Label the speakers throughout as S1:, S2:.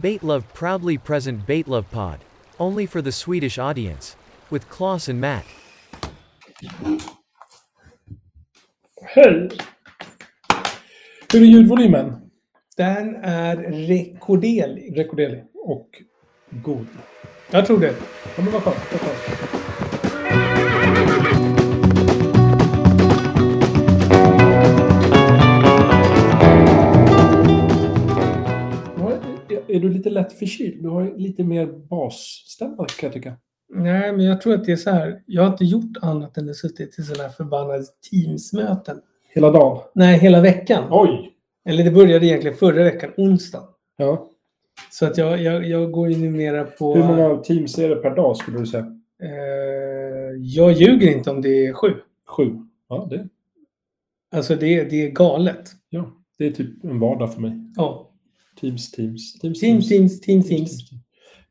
S1: Baitlove proudly present Baitlove Pod, only for the Swedish audience, with Klaus and Matt.
S2: Hej! Hur är ljudvolymen?
S3: Den är rekorderlig.
S2: Rekorderlig och god. Jag tror det. Ja, men vad skönt. vad skönt. Ja, Är du lite lätt förkyld? Du har ju lite mer basstämma kan jag tycka.
S3: Nej, men jag tror att det är så här. Jag har inte gjort annat än att suttit i sådana här förbannade Teamsmöten.
S2: Hela dagen.
S3: Nej, hela veckan.
S2: Oj!
S3: Eller det började egentligen förra veckan, onsdag.
S2: Ja.
S3: Så att jag, jag, jag går ju numera på...
S2: Hur många teams är det per dag skulle du säga?
S3: Eh, jag ljuger inte om det är sju.
S2: Sju? Ja, det,
S3: Alltså det, det är galet.
S2: ja. det är typ en vardag för mig.
S3: Ja.
S2: Teams, teams, teams,
S3: Teams, teams, teams, teams.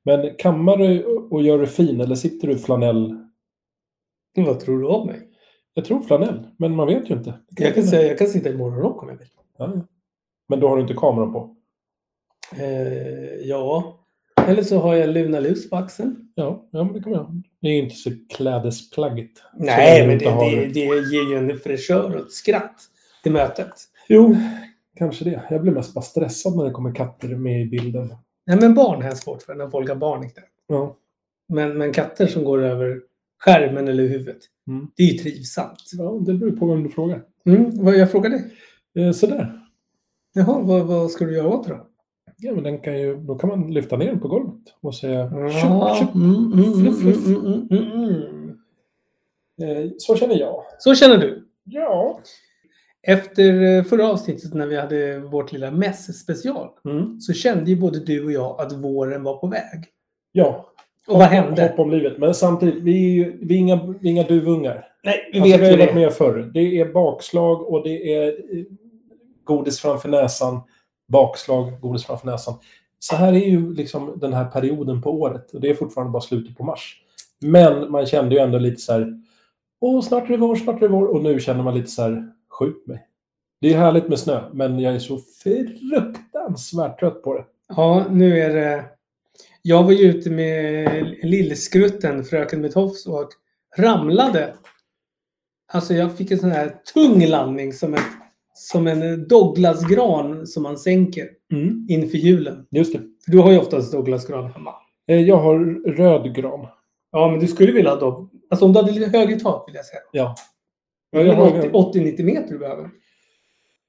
S2: Men kammar du och gör du fin eller sitter du i flanell?
S3: Vad tror du om mig?
S2: Jag tror flanell, men man vet ju inte.
S3: Jag kan säga jag kan sitta i morgonrock om jag vill.
S2: Ja, ja. Men då har du inte kameran på?
S3: Eh, ja. Eller så har jag Luna Lus på axeln.
S2: Ja, ja men det kommer jag Det är ju inte så klädesplagget.
S3: Nej,
S2: Så
S3: men
S2: inte
S3: det,
S2: har-
S3: det, det ger ju en fräschör och ett skratt till mötet.
S2: Jo, kanske det. Jag blir mest bara stressad när det kommer katter med i bilden.
S3: Nej, men barn har jag svårt för när folk har barn. Inte.
S2: Ja,
S3: Men, men katter som går över skärmen eller huvudet,
S2: Mm.
S3: det är ju trivsamt.
S2: ja det beror på vem du frågar.
S3: Mm, vad jag frågade?
S2: Eh, sådär.
S3: Jaha, vad, vad ska du göra åt det då?
S2: Ja, men den kan ju, då kan man lyfta ner den på golvet och säga
S3: Ja,
S2: tjup, tjup.
S3: mm, mm,
S2: Fluff, fluff.
S3: mm, mm, mm, mm.
S2: Eh, Så känner jag.
S3: Så känner du?
S2: Ja.
S3: Efter eh, förra avsnittet när vi hade vårt lilla mäss-special
S2: Mm.
S3: så kände ju både du och jag att våren var på väg.
S2: Ja,
S3: Och vad hände?
S2: Hopp om livet. Men samtidigt, vi är, ju, vi är, inga, vi är inga duvungar.
S3: Nej, vi
S2: Alltså,
S3: vet
S2: vi har
S3: ju
S2: ju varit
S3: det.
S2: med förr. Det är bakslag och det är eh, godis framför näsan. Bakslag, godis framför näsan. Så här är ju liksom den här perioden på året. Och det är fortfarande bara slutet på mars. Men man kände ju ändå lite så här... Åh, snart är det vår, snart är det vår. Och nu känner man lite så här... Skjut mig. Det är härligt med snö, men jag är så fruktansvärt trött på det.
S3: Ja, nu är det... Jag var ju ute med lillskrutten, fröken med tofs, och ramlade. Alltså jag fick en sån här tung landning som, ett, som en Douglasgran som man sänker inför julen.
S2: Just det.
S3: För du har ju oftast Douglasgran hemma.
S2: Eh, Jag har röd gran.
S3: Ja, men du skulle vilja ha Douglas... Alltså om du hade lite högre tak vill jag säga.
S2: Ja.
S3: Det är
S2: jag har-
S3: 80 80-90 meter du behöver.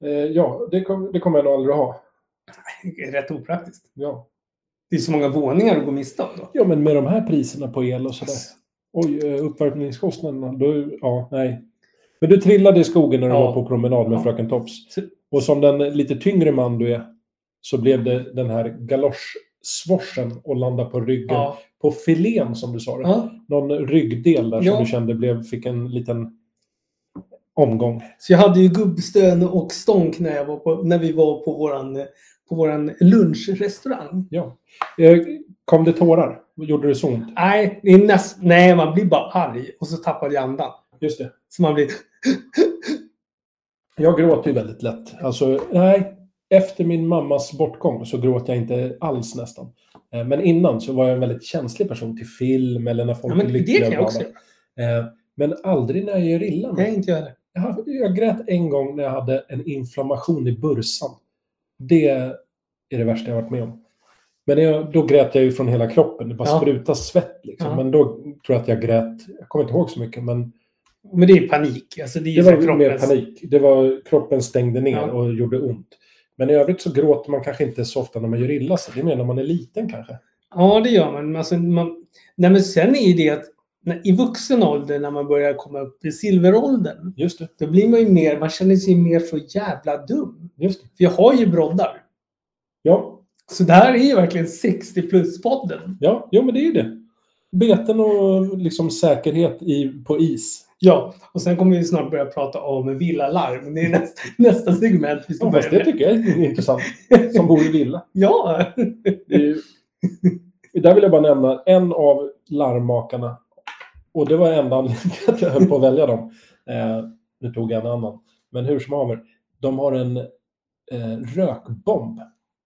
S2: Eh, ja, det, kom, det kommer jag nog aldrig ha.
S3: Det är rätt opraktiskt.
S2: Ja.
S3: Det är så många våningar att gå miste om då.
S2: ja, men med de här priserna på el och sådär. Oj, eh, uppvärmningskostnaderna. Då, ja, nej. Men du trillade i skogen när du
S3: Ja.
S2: var på promenad med
S3: Ja.
S2: Fröken Tofs.
S3: Så-
S2: Och som den lite tyngre man du är så blev det den här galoschsvorsen och landa på ryggen.
S3: Ja.
S2: På filén som du sa det.
S3: ja.
S2: Någon ryggdel där
S3: Ja.
S2: som du kände blev, fick en liten omgång.
S3: Så jag hade ju gubbstön och stånk när, jag var på, när vi var på våran, på våran lunchrestaurang.
S2: Ja. Eh, kom det tårar? Gjorde det så ont?
S3: Nej, det är näst, nej, man blir bara arg och så tappade jag andan.
S2: Just det.
S3: Så man blir...
S2: Jag gråter ju väldigt lätt. Alltså, nej. Efter min mammas bortgång så gråter jag inte alls nästan. Eh, Men innan så var jag en väldigt känslig person till film eller när folk
S3: Ja, men
S2: är
S3: det
S2: lyckliga
S3: kan jag
S2: och
S3: också
S2: glada.
S3: göra.
S2: Eh, Men aldrig när jag gör illa mig.
S3: Nej, inte jag heller.
S2: Jag, har- jag grät en gång när jag hade en inflammation i bursan. Det är det värsta jag varit med om. Men jag, då grät jag ju från hela kroppen. Det bara
S3: Ja.
S2: sprutade svett. Liksom.
S3: Ja.
S2: Men då tror jag att jag grät. Jag kommer inte ihåg så mycket. Men
S3: Men det är panik. Alltså, det är
S2: det
S3: ju
S2: var
S3: så kroppens-
S2: mer panik. Det var, kroppen stängde ner
S3: Ja.
S2: och gjorde ont. Men i övrigt så gråter man kanske inte så ofta när man gör illa sig. Det är mer när man är liten kanske.
S3: Ja, det gör man. Men Alltså, man... Nej, men sen är ju det att när, i vuxen ålder, när man börjar komma upp i silveråldern,
S2: Just det.
S3: då blir man ju mer, man känner sig mer så jävla dum.
S2: Just det.
S3: För jag har ju broddar.
S2: Ja,
S3: Så det här är ju verkligen 60 plus-podden.
S2: ja, ja, men det är ju det. Beten och liksom säkerhet i, på is.
S3: Ja, och sen kommer vi snart börja prata om villalarm. Det är nästa, nästa segment vi ska
S2: Ja, fast
S3: börja
S2: det
S3: med.
S2: tycker jag är intressant. Som bor i villa.
S3: Ja,
S2: Det är ju- Där vill jag bara nämna en av larmmakarna. Och det var enda anledningen till att jag höll på att välja dem. Eh, nu tog jag en annan. Men hur som haver. De har en eh, rökbomb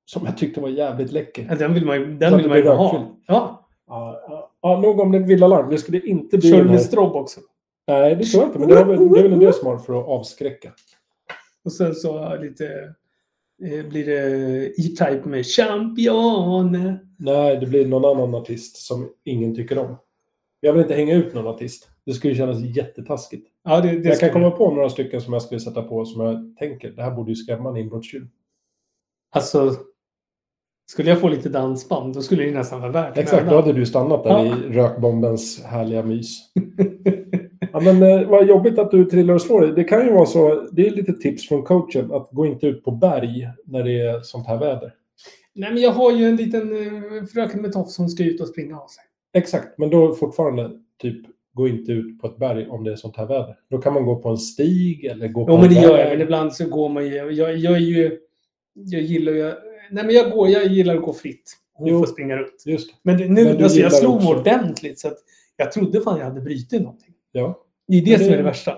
S2: Som jag tyckte var jävligt läcker.
S3: Ja, Den vill man ju,
S2: Så
S3: den vill
S2: det
S3: man ju
S2: blir
S3: ha.
S2: rökfyllt.
S3: Ja.
S2: Ja, ja, ja, nog om det villalarm. Det skulle inte bli...
S3: Kör
S2: den
S3: du
S2: här-
S3: med strobe också?
S2: Nej, det tror jag inte. Men det är väl det, är väl en del som har för att avskräcka.
S3: Och sen så lite... eh, Blir det E-Type med Champion.
S2: Nej, det blir någon annan artist som ingen tycker om. Jag vill inte hänga ut någon artist. Det skulle kännas jättetaskigt.
S3: Ja, det, det
S2: jag
S3: ska
S2: kan
S3: vi-
S2: komma på några stycken som jag skulle sätta på som jag tänker, det här borde ju skrämma en inbrottstjuv.
S3: Alltså, skulle jag få lite dansband, då skulle det ju nästan vara värt
S2: Exakt, då
S3: mödan.
S2: hade du stannat där
S3: Ja.
S2: i rökbombens härliga mys. ja, men eh, vad jobbigt att du trillar och slår dig. Det kan ju vara så, det är lite tips från coachen, att gå inte ut på berg när det är sånt här väder.
S3: Nej, men jag har ju en liten eh, fröken med tofs som ska ut och springa av sig.
S2: Exakt, men då fortfarande typ gå inte ut på ett berg om det är sånt här väder. Då kan man gå på en stig eller gå på
S3: Jo,
S2: en
S3: men det
S2: väg.
S3: gör jag. Men ibland så går man ju... Jag, jag är ju... Jag gillar ju... Nej, men jag, går, jag gillar att gå fritt. Du
S2: Jo.
S3: får springa runt.
S2: Just det.
S3: Men det- nu,
S2: Men du
S3: alltså, jag
S2: gillar
S3: slog
S2: också-
S3: ordentligt så att jag trodde fan jag hade brutit någonting.
S2: Ja.
S3: Det är det,
S2: Men det-
S3: som är det värsta.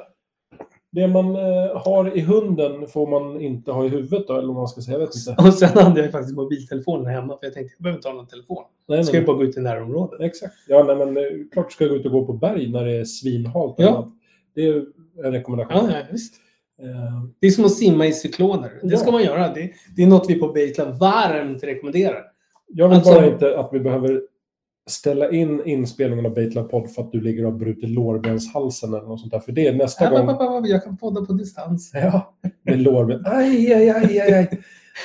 S2: Det man eh, har i hunden får man inte ha i huvudet då, eller vad man ska säga. Jag vet inte.
S3: Och sen hade jag faktiskt mobiltelefonen hemma för jag tänkte jag behöver inte ha någon telefon.
S2: Nej,
S3: Jag
S2: nej,
S3: ska ju bara gå ut i närområdet.
S2: Exakt. Ja, nej, men eh, klart ska jag gå ut och gå på berg när det är svinhalt.
S3: Ja.
S2: annat. Det är en rekommendation.
S3: Ja, ja, visst.
S2: Eh,
S3: Det är som att simma i cykloner. Det
S2: Ja.
S3: ska man göra. Det, det är något vi på Baitland varmt rekommenderar.
S2: jag vill
S3: Alltså-
S2: bara inte att vi behöver ställa in inspelningen av Baitlab podd för att du ligger och har brutit lårbenshalsen eller något sånt där. För det är nästa
S3: App, app,
S2: gång.
S3: app, app, Jag kan podda på distans.
S2: Ja, med lårben. Aj, aj, aj, aj, aj.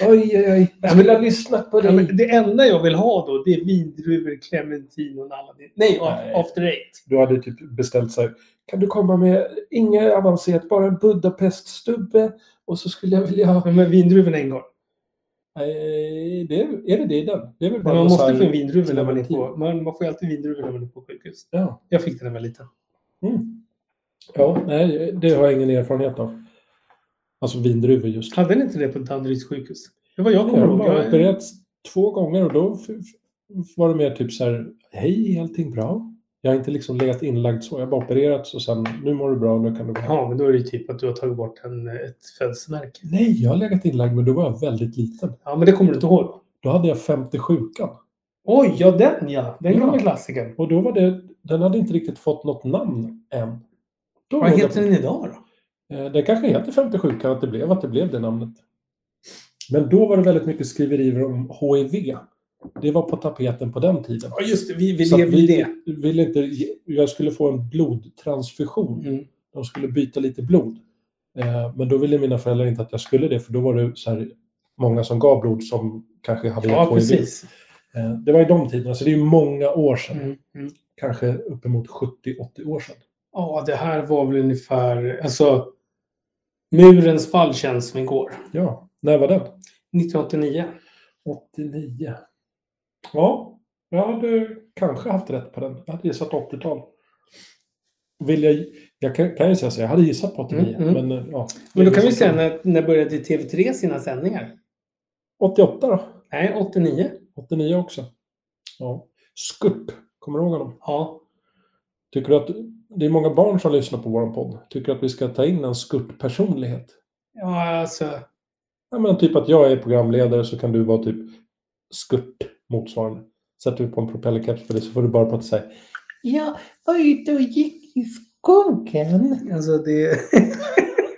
S2: Oj, oj, oj. Jag skulle ha lyssnat på
S3: Ja, men
S2: dig.
S3: det enda jag vill ha då, det är vindruvor, clementin och alla det. Nej,
S2: Nej.
S3: after eight.
S2: Du hade typ beställt så här. Kan du komma med inget avancerat, bara en Budapeststubbe? Och så skulle jag vilja ha...
S3: Ja, men vindruvorna ingår.
S2: Nej, det är, är det det i den? Det är väl bara
S3: Men man
S2: någon så
S3: måste
S2: här-
S3: få en vindruva när man är på...
S2: clementin.
S3: Man, man får ju alltid vindruvor när man är på sjukhus.
S2: Ja.
S3: Jag fick den när jag var liten.
S2: Mm. ja, nej, det har jag ingen erfarenhet av. Alltså vindruvor just.
S3: Hade ni inte det på Danderyds sjukhus? Det var jag
S2: Jag
S3: kommer
S2: har
S3: ihåg.
S2: bara
S3: Jag,
S2: opererats två gånger och då f- f- var det mer typ så här, hej, är allting bra? Jag har inte liksom legat inlagd så, jag har bara opererats och sen, nu mår du bra, nu kan du gå hem.
S3: ja, men då är det ju typ att du har tagit bort en, ett födelsemärke.
S2: Nej, jag har legat inlagd men då var jag väldigt liten.
S3: Ja, men det kommer du inte ihåg? då?
S2: Då hade jag 50 sjukan.
S3: Oj, ja den ja! Den
S2: Ja.
S3: gamla klassikern.
S2: Och då var det, den hade inte riktigt fått något namn än. Då
S3: Vad
S2: låg jag
S3: heter den idag då?
S2: Eh, Den kanske heter 57 kan att det blev att det blev det namnet. Men då var det väldigt mycket skriverier om HIV. Det var på tapeten på den tiden.
S3: Ja, just det. Vi, vi
S2: Så att
S3: lever i det.
S2: vi ville inte, ge- jag skulle få en blodtransfusion.
S3: Mm.
S2: De skulle byta lite blod. Eh, Men då ville mina föräldrar inte att jag skulle det för då var det så här många som gav blod som kanske hade
S3: Ja,
S2: gett HIV.
S3: precis.
S2: Eh, Det var i de tiderna, så det är ju många år sedan.
S3: Mm. Mm.
S2: Kanske uppemot 70-80 år sedan.
S3: Ja, det här var väl ungefär... Alltså, murens fall känns som igår.
S2: Ja, när var den?
S3: 1989.
S2: 89. Ja, jag hade kanske haft rätt på den. Jag hade gissat 80-tal. Vill jag, jag kan, kan ju säga så, jag hade gissat på 89.
S3: Mm, mm.
S2: Men, eh, ja,
S3: Men då kan vi säga, när, när började TV3 sina sändningar?
S2: 88 då?
S3: Nej, 89.
S2: 89 också. Ja. Skupp, kommer du ihåg honom?
S3: Ja.
S2: Tycker du att, det är många barn som lyssnar på vår podd. Tycker du att vi ska ta in en Skupp-personlighet?
S3: Ja, alltså...
S2: Ja, men typ att jag är programledare så kan du vara typ Skupp motsvarande. Sätter vi på en propellerkeps på det så får du bara prata så här.
S3: Jag var ute och gick i skogen. Alltså det...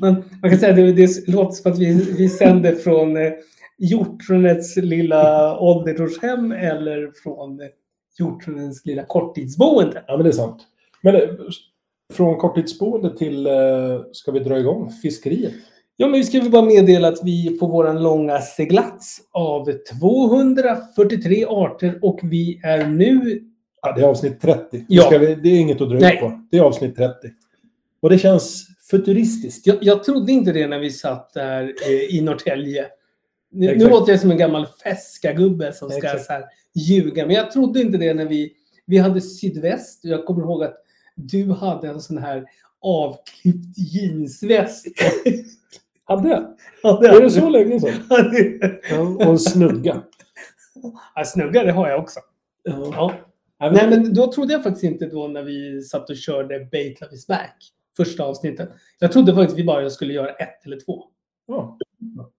S3: man, man kan säga att det, det låter som att vi, vi sänder från eh, hjortronets lilla ålderdomshem eller från eh, hjortronens lilla korttidsboende.
S2: Ja, men det är sant. Men eh, från korttidsboende till, eh, ska vi dra igång fiskeriet?
S3: Ja, men vi ska väl bara meddela att vi är på våran långa seglats av 243 arter och vi är nu...
S2: Ja, det är avsnitt 30. Det
S3: Ja.
S2: Ska vi, det är inget att dra
S3: Nej.
S2: ut på. Det är avsnitt 30. Och det känns futuristiskt.
S3: Jag, jag trodde inte det när vi satt där eh, i Norrtälje. Nu, nu
S2: Exakt.
S3: låter jag som en gammal fäskagubbe som ska
S2: Exakt.
S3: så här, ljuga. Men jag trodde inte det när vi, vi hade sydväst. Och jag kommer ihåg att du hade en sån här avklippt jeansväst.
S2: Hade jag?
S3: Ja,
S2: Är det så länge sedan?
S3: hade-
S2: Ja, och en snugga.
S3: ja, snugga, det har jag också. Ja.
S2: Nej,
S3: Nej,
S2: men,
S3: men då trodde jag faktiskt inte då när vi satt och körde Bait Love Is Back, första avsnittet. Jag trodde faktiskt vi bara skulle göra ett eller två.
S2: ja.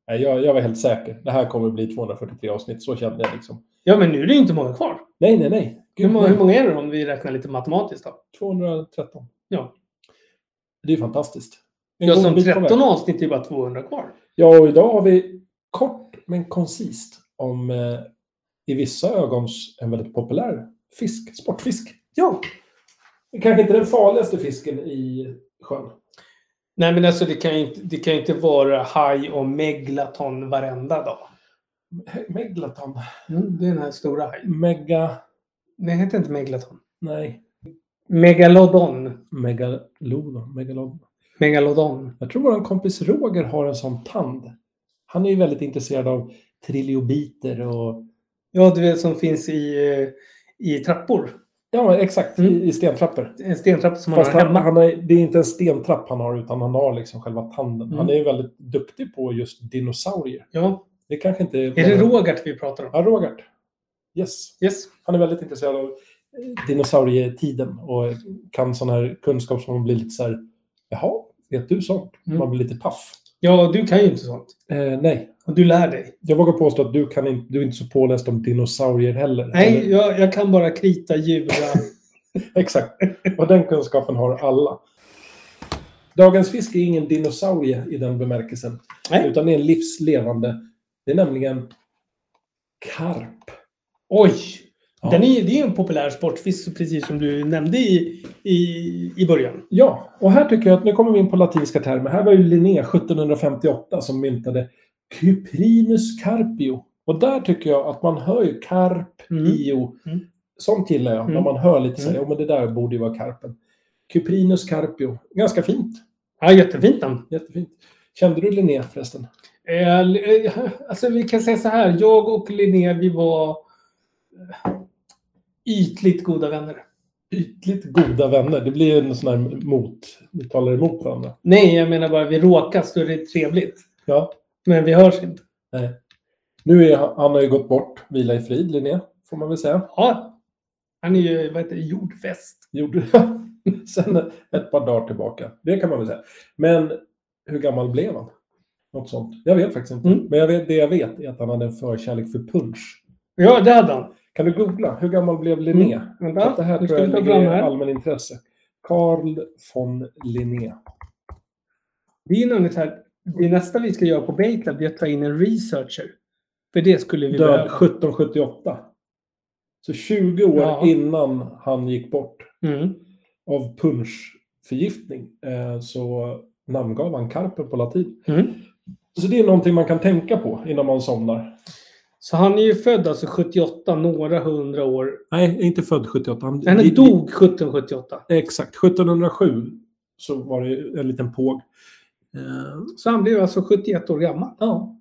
S2: Nej, jag, jag var helt säker. Det här kommer bli 243 avsnitt. Så kände jag liksom.
S3: Ja, men nu är det ju inte många kvar.
S2: Nej, nej, nej.
S3: Hur
S2: Gud,
S3: många, hur
S2: nej.
S3: många är det om vi räknar lite matematiskt då?
S2: 213.
S3: Ja.
S2: Det är ju fantastiskt. En
S3: Ja,
S2: god
S3: som
S2: bit på väg.
S3: 13 avsnitt är ju bara 200 kvar.
S2: Ja, och idag har vi kort men koncist om eh, i vissa ögons en väldigt populär fisk, sportfisk.
S3: Ja.
S2: Kanske inte den farligaste fisken i sjön.
S3: Nej, men alltså det kan ju inte, det kan ju inte vara haj och meglaton varenda dag.
S2: Me- Meglaton.
S3: Mm, det är den här stora hajen.
S2: Mega...
S3: Nej, heter inte meglaton.
S2: Nej.
S3: Megalodon.
S2: Megalodon. Megalodon.
S3: Megalodon.
S2: Jag tror vår kompis Roger har en sån tand. Han är ju väldigt intresserad av trilobiter och...
S3: Ja, du vet som finns i, eh, i trappor.
S2: Ja, exakt.
S3: Mm.
S2: I, i stentrappor.
S3: En stentrappa som man
S2: Fast
S3: har
S2: han,
S3: hemma.
S2: han är, det är inte en stentrapp han har, utan han har liksom själva tanden.
S3: Mm.
S2: Han är ju väldigt duktig på just dinosaurier.
S3: Ja.
S2: Det kanske inte
S3: Är det Rogart vi pratar om?
S2: Ja, Rogert. Yes.
S3: Yes.
S2: Han är väldigt intresserad av eh, dinosaurietiden och kan sån här kunskap som man blir lite så här, jaha, vet du sånt?
S3: Mm.
S2: Man blir lite paff.
S3: Ja, du kan ju inte sånt.
S2: Eh, nej,
S3: Och du lär dig.
S2: jag vågar påstå att du, kan in, du är inte så påläst om dinosaurier heller.
S3: Nej,
S2: Eller,
S3: jag, jag kan bara krita, jura.
S2: exakt. Och den kunskapen har alla. Dagens fisk är ingen dinosaurie i den bemärkelsen,
S3: Nej.
S2: utan det är en livslevande. Det är nämligen karp.
S3: Oj!
S2: Ja.
S3: Den är, det är ju en populär sportfisk, precis som du nämnde i, i, i början.
S2: Ja, och här tycker jag att nu kommer vi in på latinska termer. Här var ju Linné 1758 som myntade Cyprinus carpio. Och där tycker jag att man hör ju carp,
S3: Mm.
S2: io.
S3: Mm.
S2: Sånt gillar jag, när
S3: Mm.
S2: man hör lite så här,
S3: Mm.
S2: ja men det där borde ju vara karpen. Cyprinus carpio. Ganska fint.
S3: Ja, jättefint namn.
S2: Jättefint. Kände du Linné förresten?
S3: Eh, eh, Alltså, vi kan säga så här. Jag och Linné, vi var eh, ytligt goda vänner.
S2: Ytligt goda vänner. Det blir ju en sån här mot... Ni talar emot varandra.
S3: Nej, jag menar bara vi råkas, då är det trevligt.
S2: Ja.
S3: Men vi hörs inte.
S2: Nu är han, han har ju gått bort. Vila i frid, Linné. Får man väl säga.
S3: Ja, han är ju, vad heter det, jordfäst.
S2: gjorde jag sen ett par dagar tillbaka. Det kan man väl säga. Men hur gammal blev han? Något sånt. Jag vet faktiskt inte.
S3: Mm.
S2: Men jag vet, det jag vet är att han hade en förkärlek för punch.
S3: Ja, det hade han.
S2: Kan du googla? Hur gammal blev Linné? För att det
S3: Vänta,
S2: här
S3: Mm. nu
S2: tror
S3: ska
S2: jag
S3: vi ta
S2: ligger
S3: fram
S2: i
S3: här.
S2: allmänintresse. Carl von Linné.
S3: Det är nämligen så här, det nästa vi ska göra på Bayclub det är att ta in en researcher. För det skulle vi
S2: Död
S3: behöva.
S2: 1778. Så 20 år
S3: Ja.
S2: innan han gick bort
S3: Mm.
S2: av punschförgiftning eh, så namngav han karpen på latin.
S3: Mm.
S2: Så det är någonting man kan tänka på innan man somnar.
S3: Så han är ju född alltså 78, några hundra år.
S2: Nej, inte född 78. Han,
S3: Han
S2: det-
S3: dog 1778.
S2: det- Exakt. 1707 så var det en liten påg. Eh,
S3: Så han blev alltså 71 år gammal.
S2: ja.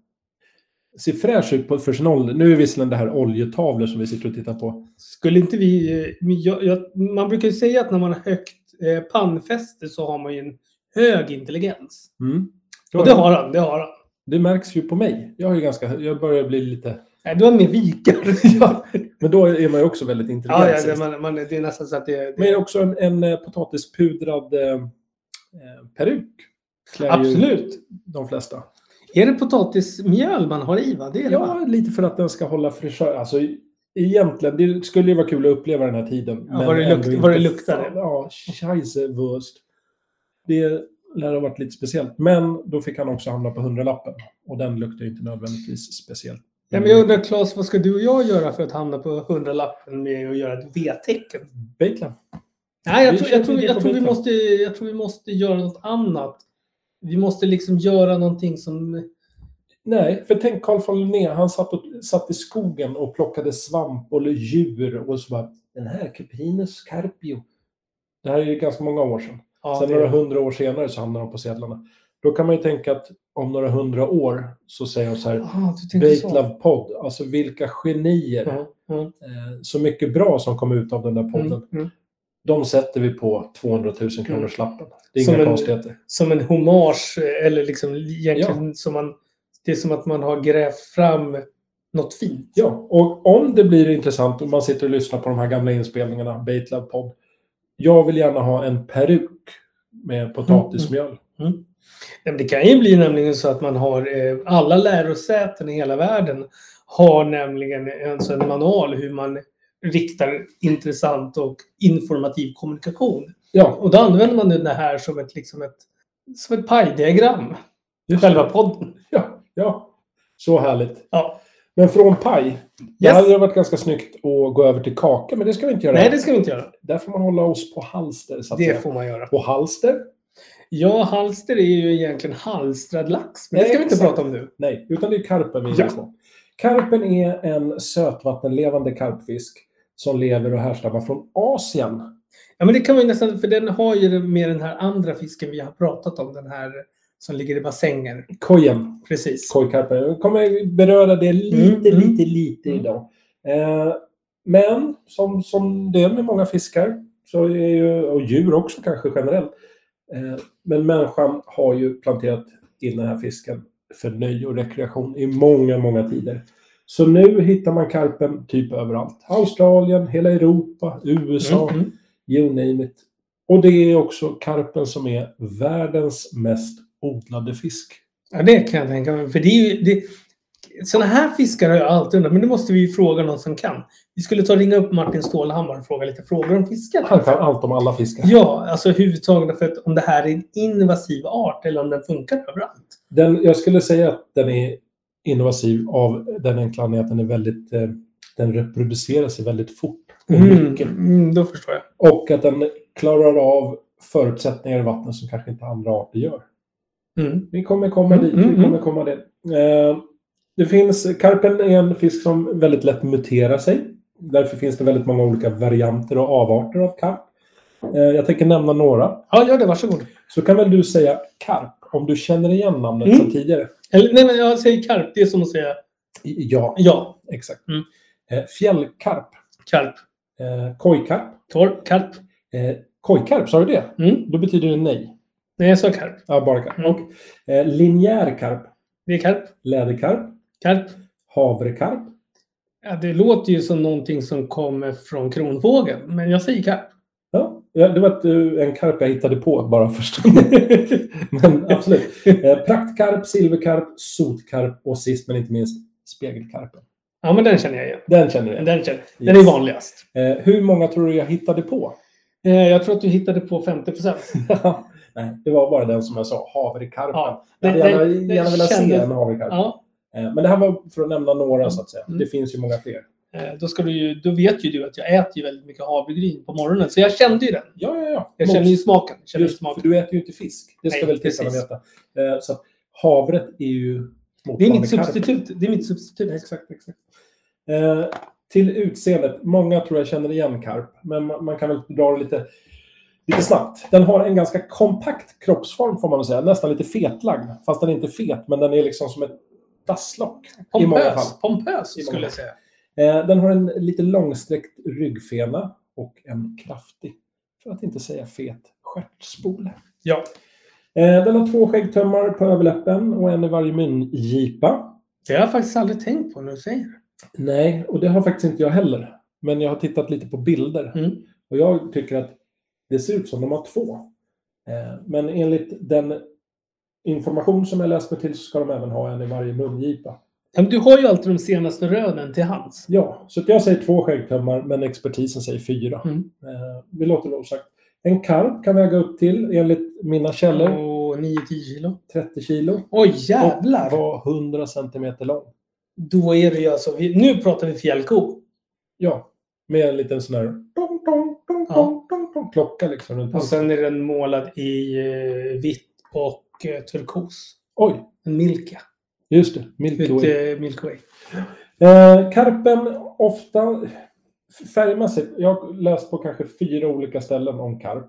S2: Ser fräsch ut på, för sin ålder. Nu är visserligen det här oljetavlor som vi sitter och tittar på.
S3: Skulle inte vi... eh, men Jag, jag, man brukar ju säga att när man har högt eh, pannfäste så har man ju en hög intelligens.
S2: Mm.
S3: Och det har han, det har han.
S2: det märks ju på mig. Jag, har ju ganska, jag börjar bli lite...
S3: Nej, du har med vikar.
S2: ja, men då är man ju också väldigt intelligent.
S3: Ja, ja det, man, man, det är nästan så att det...
S2: Men
S3: det
S2: också en, en eh, potatispudrad eh, eh, peruk. klär ju
S3: absolut.
S2: De flesta.
S3: Är det potatismjöl man har i? Va? Det är det, va?
S2: Ja, lite för att den ska hålla fräschör. Alltså, egentligen, det skulle ju vara kul att uppleva den här tiden.
S3: Ja, vad det
S2: ändå
S3: lukt-
S2: inte.
S3: vad det luktade.
S2: Fan, Ja, scheisewurst. Det lär ha varit lite speciellt. Men då fick han också hamna på hundralappen. Och den luktar ju inte nödvändigtvis speciellt.
S3: Ja, men jag undrar Claes, vad ska du och jag göra för att hamna på hundralappen med att göra ett V-tecken?
S2: Bejtla.
S3: Nej, jag
S2: Vi
S3: tror,
S2: kör
S3: jag, tror,
S2: vidare på
S3: jag, tror vi
S2: biten.
S3: måste, jag tror vi måste göra något annat. Vi måste liksom göra någonting som...
S2: Nej, för tänk Carl von Linné. Han satt, och, satt i skogen och plockade svamp och djur. Och så bara, den här Cuprinus carpio. Det här är ju ganska många år sedan.
S3: Ja,
S2: Sen
S3: det-
S2: några hundra år senare så hamnar de på sedlarna. Då kan man ju tänka att om några hundra år så säger de så här,
S3: Ah, du tänker så.
S2: Baitlove podd, alltså vilka genier.
S3: Ja, ja.
S2: Eh, så mycket bra som kom ut av den där podden.
S3: Mm, mm.
S2: De sätter vi på 200 000 kronors lappen. Det är
S3: Som
S2: inga
S3: en-
S2: konstigheter.
S3: Som en hommage, eller liksom egentligen som man... Det är som att man har grävt fram något fint.
S2: Ja, och om det blir intressant och man sitter och lyssnar på de här gamla inspelningarna, Baitlove podd. Jag vill gärna ha en peruk med potatismjöl.
S3: Mm. Nej, men det kan ju bli nämligen så att man har eh, alla lärosäten i hela världen har nämligen en, sån manual hur man riktar intressant och informativ kommunikation.
S2: Ja,
S3: Och då använder man det här som ett, liksom ett, som ett pajdiagram.
S2: just
S3: Själva
S2: det.
S3: podden.
S2: Ja, ja. Så härligt.
S3: Ja.
S2: Men från paj. Det
S3: Yes.
S2: hade varit ganska snyggt att gå över till kaka, men det ska vi inte göra.
S3: Nej, det ska vi inte göra.
S2: Där får man hålla oss på halster. Så att säga.
S3: Det får man göra.
S2: Och halster?
S3: Ja, halster är ju egentligen halstrad lax. Men det
S2: Nej,
S3: ska vi inte
S2: exakt.
S3: prata om nu.
S2: Nej, utan det är karpen vi
S3: Ja.
S2: gissar. Karpen är en sötvattenlevande karpfisk som lever och härstammar från Asien.
S3: Ja, men det kan man ju nästan, för den har ju med den här andra fisken vi har pratat om, den här som ligger i bassänger.
S2: Kojen,
S3: Precis.
S2: kojkarpen. Jag kommer beröra det lite,
S3: Mm, mm.
S2: lite, lite
S3: Mm.
S2: idag. Eh, men som, som det är med många fiskar, så är ju, och djur också kanske generellt, eh, men människan har ju planterat in den här fisken för nöje och rekreation i många, många tider. Så nu hittar man karpen typ överallt. Australien, hela Europa, USA.
S3: Mm, mm.
S2: You name it. Och det är också karpen som är världens mest odlade fisk.
S3: Ja, det kan jag tänka mig. För det är ju, det, sådana här fiskar har jag alltid undrat, men det måste vi ju fråga någon som kan. Vi skulle ta och ringa upp Martin Stålhammar och fråga lite frågor om fiskar.
S2: Han kan allt om alla fiskar.
S3: Ja, alltså huvudtaget för att om det här är en invasiv art eller om den funkar överallt.
S2: Den, jag skulle säga att den är invasiv av den enkla anledningen att den är väldigt... Eh, den reproducerar sig väldigt fort. Och, mycket.
S3: mm, då förstår jag.
S2: och att den klarar av förutsättningar i vattnet som kanske inte andra arter gör.
S3: Mm.
S2: Vi kommer komma
S3: Mm,
S2: dit.
S3: mm,
S2: Vi kommer komma dit. Eh, det finns, karpen är en fisk som väldigt lätt muterar sig. Därför finns det väldigt många olika varianter och avarter av karp. Eh, jag tänker nämna några.
S3: Ja, gör det. Varsågod.
S2: Så kan väl du säga karp, om du känner igen namnet
S3: Mm.
S2: sedan tidigare?
S3: Eller, nej, men jag säger karp. Det är som att säga
S2: I- Ja,
S3: ja.
S2: exakt.
S3: Mm.
S2: Eh, fjällkarp,
S3: Karp.
S2: eh, kojkarp.
S3: Torp. Karp.
S2: Eh, kojkarp, sa du det?
S3: Mm.
S2: Då betyder det nej.
S3: Nej, jag sa karp.
S2: Ja, bara karp.
S3: Mm.
S2: Och, eh, linjär karp,
S3: Det är karp.
S2: läderkarp,
S3: Karp.
S2: havrekarp.
S3: Ja, det låter ju som någonting som kommer från kronfågeln, men jag säger karp.
S2: Ja, ja, det var ett, eh, en karp jag hittade på bara först. men absolut. Eh, praktkarp, silverkarp, sotkarp och sist men inte minst spegelkarpen.
S3: Ja, men den känner jag igen.
S2: Den känner du igen.
S3: Den, känner, den
S2: Yes.
S3: är vanligast.
S2: Eh, hur många tror du jag hittade på?
S3: Eh, Jag tror att du hittade på 50 procent.
S2: Nej, det var bara den som jag sa, havrekarpen.
S3: Ja,
S2: jag hade
S3: det-
S2: gärna,
S3: det- det
S2: gärna velat se
S3: kändes-
S2: en havrekarp.
S3: Ja,
S2: Eh, Men det här var för att nämna några så att säga.
S3: Mm.
S2: Det finns ju många fler.
S3: eh, då, ska du ju, då vet ju du att jag äter ju väldigt mycket havregryn på morgonen, så jag kände ju den.
S2: Ja, ja, ja.
S3: Jag
S2: Mos-
S3: känner ju smaken. Jag Känner ju
S2: Just, för
S3: smaken.
S2: du äter ju inte fisk. Det ska
S3: Nej,
S2: väl tittarna
S3: precis.
S2: veta. Eh, Så att havret är ju
S3: Det är
S2: motsvarande
S3: mitt
S2: karp.
S3: substitut. Det är mitt substitut.
S2: Exakt, exakt. Eh, till utseendet. Många tror jag känner igen karp, men man, man kan väl dra det lite, lite snabbt. Den har en ganska kompakt kroppsform får man väl säga. Nästan lite fetlagd. Fast den är inte fet, men den är liksom som ett dasslock. I många fall.
S3: Pompös, pompös
S2: I många
S3: skulle jag
S2: fall.
S3: säga.
S2: Eh, den har en lite långsträckt ryggfena och en kraftig, för att inte säga fet, stjärtspole.
S3: Ja.
S2: Eh, den har två skäggtömmar på överläppen och en i varje mungipa.
S3: Det har jag faktiskt aldrig tänkt på när du säger det.
S2: Nej, och det har faktiskt inte jag heller. Men jag har tittat lite på bilder.
S3: Mm.
S2: Och jag tycker att det ser ut som de har två. Eh, Men enligt den information som jag läst mig till så ska de även ha en i varje mungipa.
S3: Ja, men Du har ju alltid de senaste rönen till hands.
S2: Ja, så att jag säger två skäggtömmar men expertisen säger fyra.
S3: Mm.
S2: Eh, Vi låter det osagt. En karp kan väga upp till, enligt mina källor,
S3: Och 9-10 kilo.
S2: 30 kilo.
S3: Oj, Mm. jävlar!
S2: Och var 100 centimeter lång.
S3: Då är det ju alltså, vi, nu pratar vi fjällko.
S2: Ja, med en liten sån här dong, dong, dong,
S3: Ja.
S2: dong, dong, dong, klocka liksom runt
S3: Och
S2: halsen.
S3: sen är den målad i eh, vitt och eh, turkos.
S2: Oj,
S3: En Milka.
S2: just det. Milky Way.
S3: Ut, eh, Milky Way.
S2: Eh, karpen ofta färgmässigt. Jag har läst på kanske fyra olika ställen om karp.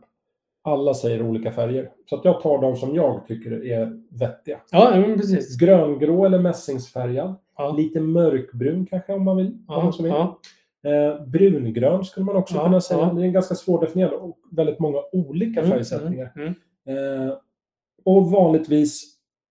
S2: Alla säger olika färger. Så att jag tar de som jag tycker är vettiga.
S3: Ja, ja, men precis.
S2: Gröngrå eller mässingsfärgad.
S3: Ja.
S2: Lite mörkbrun kanske om man vill. Om
S3: Ja,
S2: man så vill.
S3: ja.
S2: Eh, brungrön skulle man också
S3: Ja,
S2: kunna säga.
S3: ja.
S2: Det är ganska svårdefinierat och väldigt många olika
S3: Mm,
S2: färgsättningar.
S3: mm, mm.
S2: Eh, och vanligtvis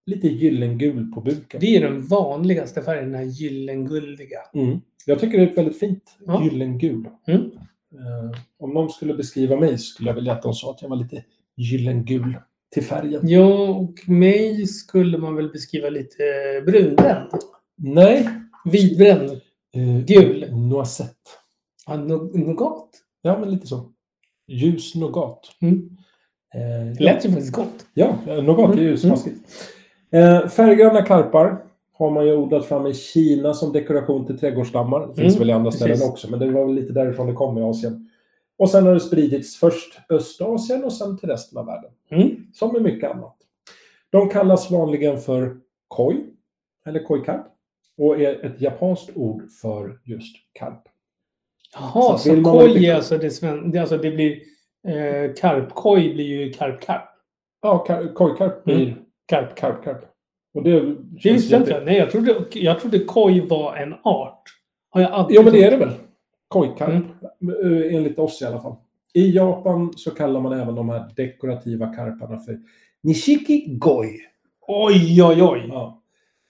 S2: lite gyllengul på buken.
S3: Det är den vanligaste färgen, den här gyllenguldiga.
S2: Mm. Jag tycker det är ett väldigt fint
S3: Ja.
S2: gyllengul.
S3: Mm.
S2: Eh, om någon skulle beskriva mig skulle jag vilja att de sa att jag var lite gyllengul. till färgen.
S3: Ja, och mig skulle man väl beskriva lite brunbränd.
S2: Nej.
S3: Vitbränd.
S2: Eh,
S3: Gul.
S2: Noisette.
S3: Ja, no- Nougat.
S2: Ja, men lite så. Ljus nougat.
S3: Mm.
S2: Eh,
S3: Det lät ju faktiskt gott.
S2: Ja, eh, nougat är
S3: Mm,
S2: ljusmaskigt. Eh, färggröna karpar har man ju odlat fram i Kina som dekoration till trädgårdsstammar. Det finns
S3: Mm,
S2: väl i andra ställen
S3: precis.
S2: också, men det var väl lite därifrån det kom i Asien. Och sen har det spridits först Östasien och sen till resten av världen.
S3: Mm.
S2: Som med mycket annat. De kallas vanligen för koi, eller koi-karp. Och är ett japanskt ord för just karp.
S3: Jaha,
S2: Så vill
S3: så
S2: man
S3: koj
S2: vara lite-
S3: är alltså det, sven... det, är alltså det blir... Eh, karpkoj blir ju karpkarp.
S2: Ja, kar- koi-karp blir
S3: Mm. Karp.
S2: karp-karp. Och det
S3: Det
S2: känns
S3: visste jag
S2: jätte...
S3: inte. Nej, jag trodde, jag trodde koj var en art. Har jag alltid
S2: Jo, men det är
S3: trott.
S2: det väl. Koi-karp. Eh, Enligt oss i alla fall. I Japan så kallar man även de här dekorativa karparna för nishiki goi.
S3: Oj, oj, oj.
S2: Ja.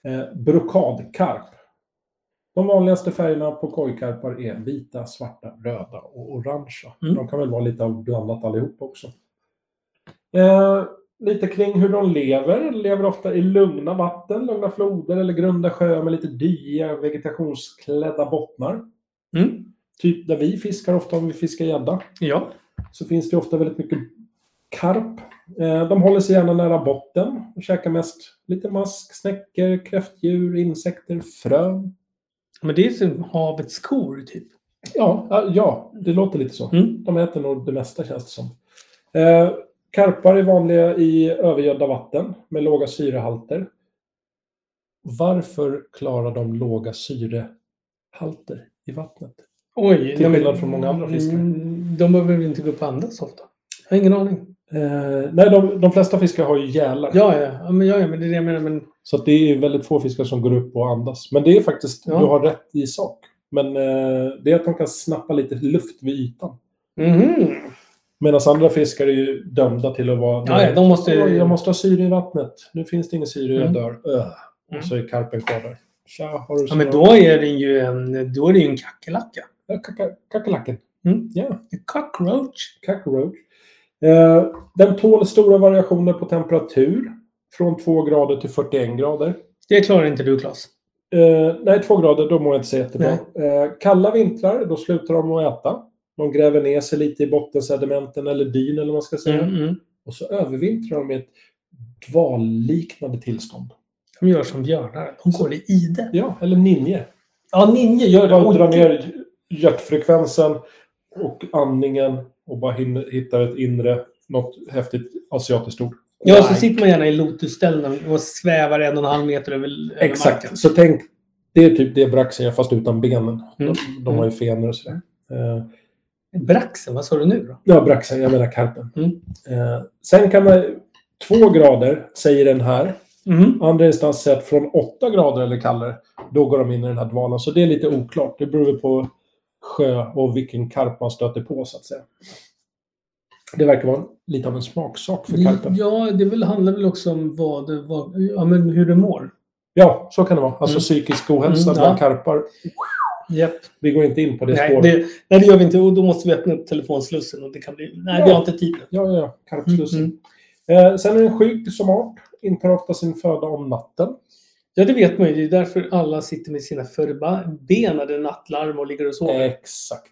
S2: Eh, brokadkarp. De vanligaste färgerna på kojkarpar är vita, svarta, röda och orangea.
S3: Mm.
S2: De kan väl vara lite av blandat allihop också. Eh, lite kring hur de lever. De lever ofta i lugna vatten, lugna floder eller grunda sjöar med lite dyiga vegetationsklädda bottnar.
S3: Mm.
S2: Typ där vi fiskar ofta om vi fiskar gädda
S3: Ja.
S2: så finns det ofta väldigt mycket karp. Eh, De håller sig gärna nära botten och käkar mest lite mask, snäckor, kräftdjur, insekter, frön.
S3: Men det är som havets kor, typ.
S2: Ja, ja, ja, det låter lite så.
S3: Mm.
S2: De äter nog det mesta känns det som. Eh, Karpar är vanliga i övergödda vatten med låga syrehalter. Varför klarar de låga syrehalter i vattnet?
S3: Oj. nej, men-
S2: skillnad från många andra fiskar.
S3: Mm, De behöver väl inte gå upp och andas ofta. Jag har ingen aning.
S2: Eh, nej, de, de flesta fiskar har ju gälar.
S3: Ja, ja, ja, men, ja, ja, men det är det jag menar. Men,
S2: Så att det är väldigt få fiskar som går upp och andas. Men det är faktiskt,
S3: Ja.
S2: du har rätt i sak. Men eh, det är att de kan snappa lite luft vid ytan.
S3: Mhm.
S2: Medan andra fiskar är ju dömda till att vara...
S3: Ja, ja, de måste-
S2: "Oj, Jag måste ha syre i vattnet. Nu finns det ingen syre, jag
S3: Mm.
S2: dör. Öh.
S3: Mm.
S2: Och så är karpen kvar där. Tja, har du
S3: ja, men då är det ju en, då är det ju en kackerlacka.
S2: Ja, kaka- Kackerlacken.
S3: Mm.
S2: Ja,
S3: En cockroach.
S2: cockroach. Eh, den tål stora variationer på temperatur. Från 2 grader till 41 grader.
S3: Det klarar inte du, Claes.
S2: Eh, nej, två grader, då mår jag inte så jättebra. Eh, kalla vintrar, då slutar de att äta. De gräver ner sig lite i bottensedimenten eller dyn eller vad man ska säga.
S3: Mm, mm.
S2: Och så övervintrar de i ett dvalliknande tillstånd.
S3: De gör som björnar. De går i ide.
S2: Ja, eller ninje.
S3: Ja, ninjor gör det.
S2: Bara
S3: Oj,
S2: drar
S3: gud.
S2: ner hjärtfrekvensen och andningen och bara hinner, hittar ett inre, något häftigt asiatiskt ord.
S3: Ja, så
S2: Nej.
S3: sitter man gärna i lotusställning och svävar en och en halv meter över, över marken.
S2: Exakt. Så tänk, det är typ det braxen gör fast utan benen.
S3: Mm.
S2: De, de har ju fenor och sådär. Eh,
S3: Braxen, vad sa du nu då?
S2: Ja, braxen. Jag menar karpen.
S3: Mm.
S2: Eh, sen kan man... Två grader, säger den här.
S3: Mhm.
S2: Andra instans säger att från åtta grader eller kallare, då går de in i den här dvalan. Så det är lite oklart. Det beror väl på sjö och vilken karp man stöter på, så att säga. Det verkar vara lite av en smaksak för
S3: Mm.
S2: karpen.
S3: Ja, det väl, handlar väl också om vad, det- vad, ja, men hur du mår.
S2: Ja, så kan det vara. Alltså
S3: Mm.
S2: psykisk ohälsa
S3: Mm,
S2: bland
S3: ja.
S2: karpar.
S3: Japp.
S2: Vi går inte in på det
S3: Nej
S2: spåret.
S3: det, nej, det gör vi inte. Och då måste vi öppna upp telefonslussen. Och det kan bli, nej, vi
S2: Ja.
S3: har inte tid.
S2: Ja, ja, ja. Karpslussen.
S3: Mm.
S2: Eh, sen är den skygg som art. Intar ofta sin föda om natten.
S3: Ja, det vet man ju. Det är därför alla sitter med sina förbenade nattlarm och ligger och sover.
S2: Eh, Exakt.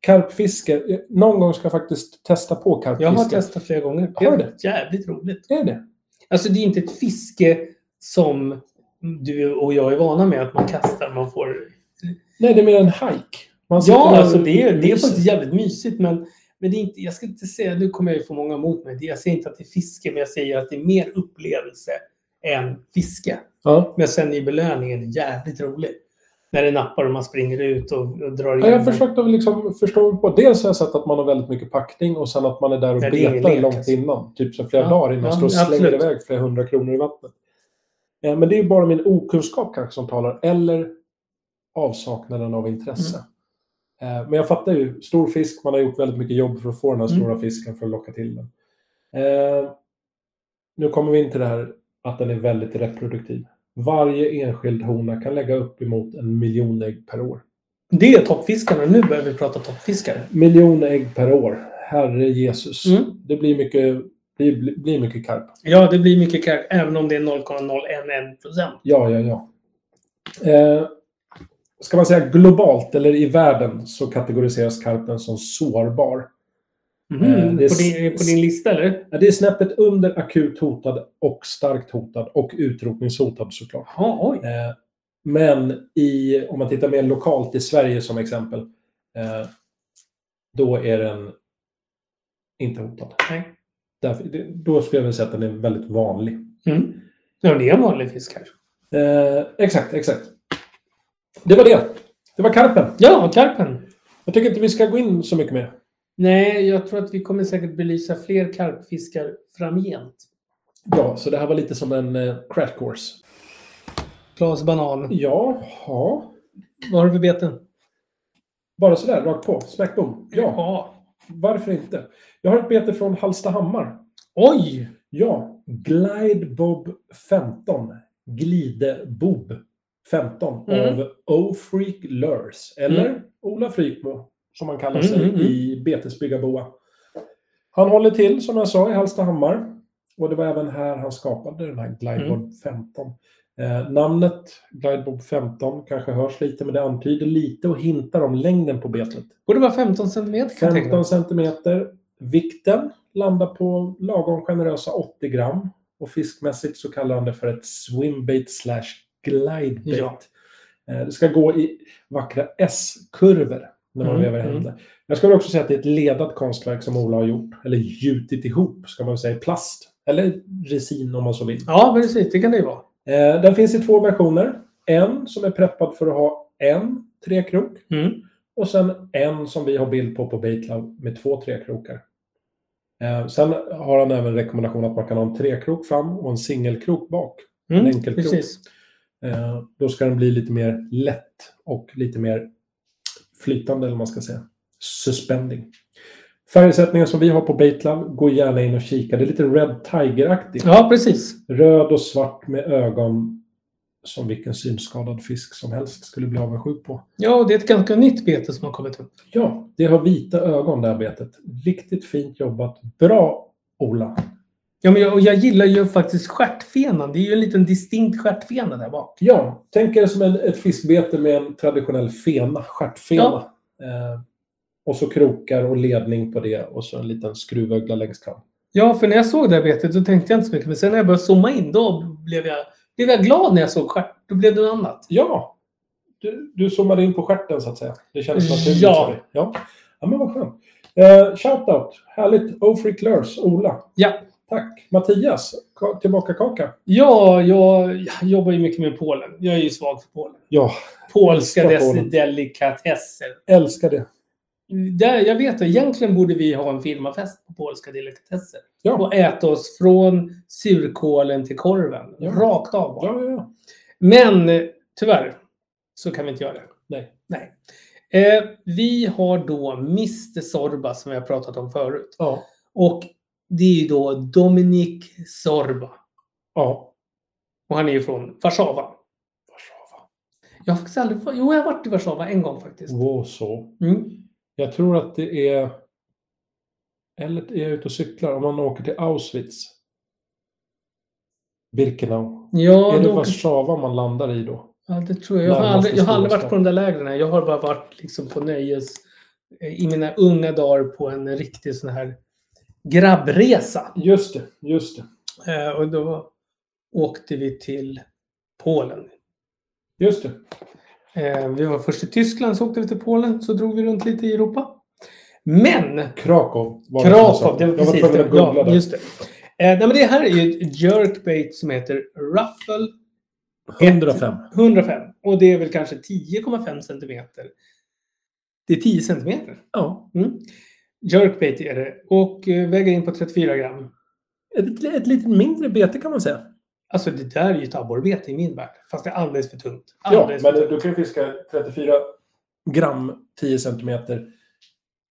S2: Karpfiske. Eh, Någon gång ska jag faktiskt testa på karpfiske.
S3: Jag har testat flera gånger. Det
S2: Har du
S3: är jävligt roligt.
S2: Är det?
S3: Alltså det är inte ett fiske som du och jag är vana med att man kastar, man får...
S2: Nej, det är mer en hike. Man sitter
S3: Ja,
S2: där
S3: alltså
S2: och
S3: det är, det är
S2: myser.
S3: faktiskt jävligt mysigt men, men det är inte, jag ska inte säga, nu kommer jag ju få många emot mig. Jag säger inte att det är fiske men jag säger att det är mer upplevelse än fiske.
S2: Ja.
S3: Men sen är belöningen jävligt rolig. När det nappar och man springer ut och, och drar in.
S2: Ja, jag
S3: den.
S2: försökte väl liksom förstå mig på. Dels har jag sett att man har väldigt mycket packning och sen att man är där och
S3: Ja, det är ingen
S2: betar
S3: lek,
S2: långt
S3: alltså.
S2: innan. Typ så flera
S3: Ja,
S2: dagar innan.
S3: ja,
S2: står och slänger
S3: absolut.
S2: iväg flera hundra kronor i vattnet. Eh, Men det är ju bara min okunskap kanske som talar. Eller avsaknaden av intresse.
S3: Mm.
S2: Eh, Men jag fattar ju. Stor fisk, man har gjort väldigt mycket jobb för att få den här
S3: Mm.
S2: stora fisken för att locka till den. Eh, Nu kommer vi in till det här att den är väldigt reproduktiv. Varje enskild hona kan lägga upp emot en miljon ägg per år.
S3: Det är toppfiskarna. Nu börjar vi prata toppfiskare.
S2: Miljon ägg per år. Herre Jesus.
S3: Mm.
S2: Det blir mycket Det blir- blir mycket karp.
S3: Ja, det blir mycket kark, även om det är 0,011 procent.
S2: Ja, ja, ja. Eh, ska man säga globalt eller i världen så kategoriseras karpen som sårbar. Eh, det är
S3: Mm, på, din,
S2: s-
S3: på din lista, eller?
S2: Ja, Det är snäppet under akut hotad och starkt hotad och utrotningshotad såklart.
S3: Ja, oj.
S2: Eh, men i, om man tittar mer lokalt i Sverige som exempel, eh, då är den inte hotad.
S3: Nej.
S2: Därför, det- då skulle jag vilja säga att den är väldigt vanlig.
S3: Mm. Ja, det är en vanlig fisk kanske.
S2: Eh, exakt, exakt. Det var det. Det var karpen.
S3: Ja, karpen.
S2: Jag tycker inte vi ska gå in så mycket mer.
S3: Nej, jag tror att vi kommer säkert belysa fler karpfiskar framgent.
S2: Ja, så det här var lite som en eh, crash course.
S3: Klas banan.
S2: Jaha.
S3: Vad har du för beten?
S2: Bara sådär, rakt på. Smack boom. Ja, varför inte? Jag har ett bete från Hallstahammar.
S3: Oj!
S2: Ja, Glide Bob 15. Glide Bob 15
S3: Mm.
S2: av O-Freak Lures. Eller
S3: Mm.
S2: Ola Frykmo, som han kallar
S3: Mm,
S2: sig
S3: mm, mm.
S2: i Betesbyggarboa. Han håller till, som jag sa, i Hallstahammar. Och det var även här han skapade den här
S3: Mm.
S2: Glide Bob 15. Eh, namnet Glide Bob 15 kanske hörs lite, men det antyder lite och hintar om längden på betet.
S3: Borde vara 15 centimeter kan jag tänka mig.
S2: 15 centimeter. Vikten landar på lagom generösa 80 gram. Och fiskmässigt så kallar han det för ett swimbait slash glidebait.
S3: Ja.
S2: Eh, Det ska gå i vackra S-kurvor när man
S3: Mm,
S2: vevar hem det. Jag skulle också säga att det är ett ledat konstverk som Ola har gjort. Eller gjutit ihop, ska man väl säga, i plast. Eller resin om man så vill.
S3: Ja, precis. Det kan det ju vara.
S2: Eh, Den finns i två versioner. En som är preppad för att ha en trekrok.
S3: Mm.
S2: Och sen en som vi har bild på på Baitlab med två trekrokar. Eh, sen har han även rekommendation att man kan ha en trekrok fram och en singelkrok bak. En
S3: Mm.
S2: enkel
S3: Precis.
S2: Eh, då ska den bli lite mer lätt och lite mer flytande, eller vad man ska säga. Suspending. Färgsättningen som vi har på Baitlab, gå gärna in och kika. Det är lite Red Tiger-aktigt.
S3: Ja, precis.
S2: Röd och svart med ögon som vilken synskadad fisk som helst skulle bli avundsjuk på.
S3: Ja, och det är ett ganska nytt bete som har kommit upp.
S2: Ja, det har vita ögon det här betet. Riktigt fint jobbat. Bra, Ola.
S3: Ja, men jag, och jag gillar ju faktiskt stjärtfenan. Det är ju en liten distinkt stjärtfena där bak.
S2: Ja, tänk er som en, ett fiskbete med en traditionell fena, stjärtfena. Eh, och så krokar och ledning på det och så en liten skruvögla längst fram.
S3: Ja, för när jag såg det här betet då tänkte jag inte så mycket. Men sen när jag började zooma in, då blev jag, blev jag glad när jag såg stjärt. Då blev det något annat.
S2: Ja, du, du zoomade in på stjärten så att säga. Det kändes naturligt
S3: Ja.
S2: för dig. Ja. ja, men vad skönt. Eh, shoutout, härligt. Ofric Lurs, Ola.
S3: Ja.
S2: Tack. Mattias, ka- tillbaka kaka.
S3: Ja, jag, jag jobbar ju mycket med Polen. Jag är ju svag för Polen.
S2: Ja,
S3: Polska
S2: Ska
S3: dess-
S2: Polen.
S3: delikatesser.
S2: älskar det.
S3: Där, jag vet att egentligen borde vi ha en firmafest på polska delikatesser.
S2: Ja.
S3: Och äta oss från surkålen till korven.
S2: Ja.
S3: Rakt av bara.
S2: Ja, ja, ja.
S3: Men eh, tyvärr så kan vi inte göra det.
S2: Nej.
S3: Nej. Eh, vi har då Mr Sorba som vi har pratat om förut.
S2: ja.
S3: Och det är ju då Dominik Sorba.
S2: ja.
S3: Och han är ju från Warszawa.
S2: Warszawa.
S3: Jag har faktiskt aldrig varit... Jo, jag har varit i Warszawa en gång faktiskt.
S2: Warsaw.
S3: Mm.
S2: Jag tror att det är... Eller är jag ute och cyklar? Om man åker till Auschwitz. Birkenau.
S3: Ja,
S2: är det
S3: då-
S2: Warszawa man landar i då?
S3: ja, det tror jag. Jag har
S2: Närmaste
S3: aldrig, jag har aldrig
S2: stora
S3: varit på de där lägren. här. Jag har bara varit liksom på nöjes... eh, I mina unga dagar på en riktig sån här grabbresa.
S2: Just det, just det.
S3: Eh, och då åkte vi till Polen.
S2: Just det.
S3: Eh, vi var först i Tyskland, så åkte vi till Polen, så drog vi runt lite i Europa. Men
S2: Krakow. var det som
S3: Krakow,
S2: jag sa.
S3: det var
S2: jag var
S3: precis
S2: tvungen
S3: det.
S2: att googla
S3: Ja,
S2: där.
S3: just det. Eh, nej, men det här är ju ett jerkbait som heter Ruffle
S2: 105.
S3: 105. Och det är väl kanske 10,5 centimeter. Det är 10 centimeter.
S2: Ja.
S3: Mm. Jerkbait är det. Och eh, väger in på 34 gram.
S2: Ett, ett lite mindre bete kan man säga.
S3: Alltså det där är ju ett abborrbete i min värld. Fast det är alldeles för tunt.
S2: Ja,
S3: Alldeles
S2: men
S3: för tunt.
S2: du kan ju fiska 34 gram, 10 centimeter.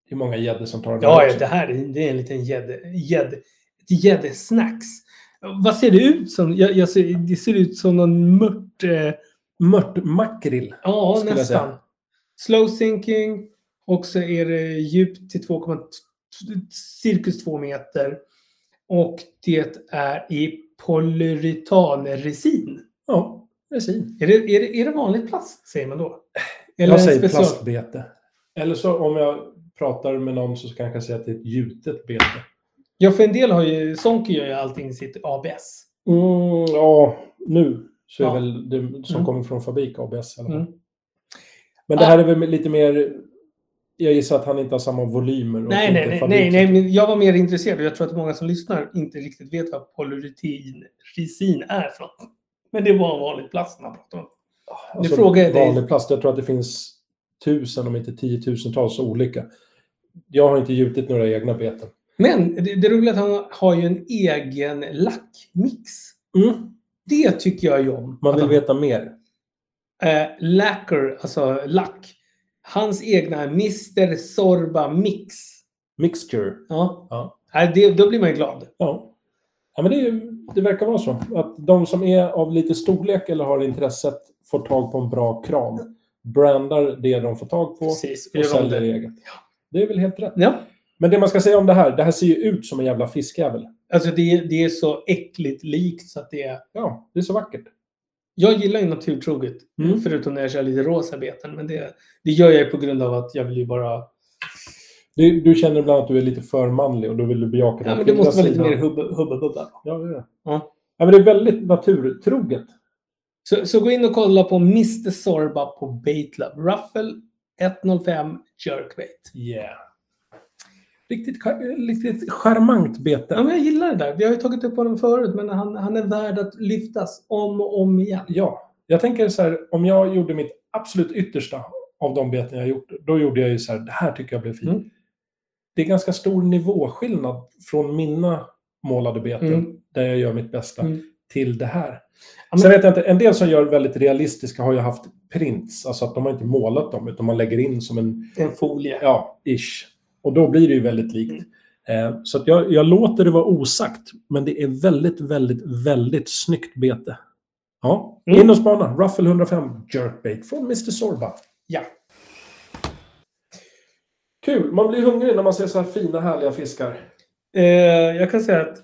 S2: Det är många gäddor som tar den
S3: Ja,
S2: här
S3: ja,
S2: också.
S3: det här är, det är en liten gädd- gädd- ett gäddsnacks. Vad ser det ut som? Jag, jag ser, det ser ut som någon mört... Eh,
S2: Mört makrill.
S3: ja,
S2: Skulle jag
S3: nästan.
S2: säga.
S3: Slow sinking och så är det djupt till 2, cirkus 2 meter. Och det är i polyuretanresin.
S2: Ja, resin.
S3: Är det, är, det, är det vanligt plast säger man då? Eller
S2: jag säger
S3: special-
S2: plastbete. Eller så om jag pratar med någon så kanske jag säger att det är ett gjutet bete.
S3: Ja, för en del har ju, Sonke gör ju allting i sitt ABS.
S2: Mm, ja, nu så är
S3: Ja.
S2: väl det som
S3: Mm.
S2: kommer från fabrik ABS. Eller?
S3: Mm.
S2: Men det här är väl lite mer... Jag gissar att han inte har samma volymer. och
S3: Nej,
S2: inte
S3: nej, nej,
S2: fabrik-
S3: nej, nej, men jag var mer intresserad och jag tror att många som lyssnar inte riktigt vet vad polyuretanresin är för något. Men det var en vanlig plast man pratade om.
S2: Alltså,
S3: Nu frågar jag dig-
S2: vanlig plast. Jag tror att det finns tusen, om inte tiotusentals olika. Jag har inte gjutit några egna beten.
S3: Men det, det roliga är att han har ju en egen lackmix.
S2: Mm.
S3: Det tycker jag ju om.
S2: Man
S3: Att
S2: vill
S3: han-
S2: veta mer.
S3: eh, Lacker, alltså lack. Hans egna Mr. Sorba Mix.
S2: Mixture.
S3: Ja.
S2: Ja.
S3: Nej, det, då blir man ju glad.
S2: Ja. ja men det, är ju, det verkar vara så. Att de som är av lite storlek eller har intresset får tag på en bra kran. Brandar det de får tag på
S3: Precis.
S2: och
S3: Gör om
S2: säljer
S3: det.
S2: eget. Det är väl helt rätt.
S3: Ja.
S2: Men det man ska säga om det här, det här ser ju ut som en jävla fiskjävel.
S3: Alltså det, det är så äckligt likt så att det är...
S2: Ja, det är så vackert.
S3: Jag gillar ju naturtroget.
S2: Mm.
S3: Förutom när jag kör lite rosa beten. Men det, det gör jag ju på grund av att jag vill ju bara...
S2: Du, du känner ibland att du är lite för manlig och då vill du bejaka den
S3: Ja, men det
S2: kvinnliga
S3: måste vara lite
S2: sidan.
S3: mer hubba, hubba bubba.
S2: Ja, det är det.
S3: Ja.
S2: Ja, men det är väldigt naturtroget.
S3: Så, så gå in och kolla på Mr. Sorba på Baitlab. Ruffle 105 Jerkbait.
S2: Yeah. Riktigt, riktigt charmant bete.
S3: Ja, men jag gillar det där. Vi har ju tagit upp honom förut, men han, han är värd att lyftas om och om igen.
S2: Ja, jag tänker så här, om jag gjorde mitt absolut yttersta av de beten jag gjort, då gjorde jag ju så här, det här tycker jag blev fint.
S3: Mm.
S2: Det är ganska stor nivåskillnad från mina målade beten,
S3: Mm.
S2: där jag gör mitt bästa,
S3: Mm.
S2: till det här.
S3: men-
S2: Sen vet jag inte, en del som gör väldigt realistiska har ju haft prints, alltså att de har inte målat dem, utan man lägger in som en,
S3: En folie.
S2: ja, ish. Och då blir det ju väldigt likt.
S3: Mm.
S2: Eh, Så att jag, jag låter det vara osagt, men det är väldigt, väldigt, väldigt snyggt bete. Ja,
S3: Mm.
S2: in och spana. Ruffle 105 Jerkbait från Mr. Sorba.
S3: Ja.
S2: Kul! Man blir hungrig när man ser så här fina, härliga fiskar.
S3: Eh, jag kan säga att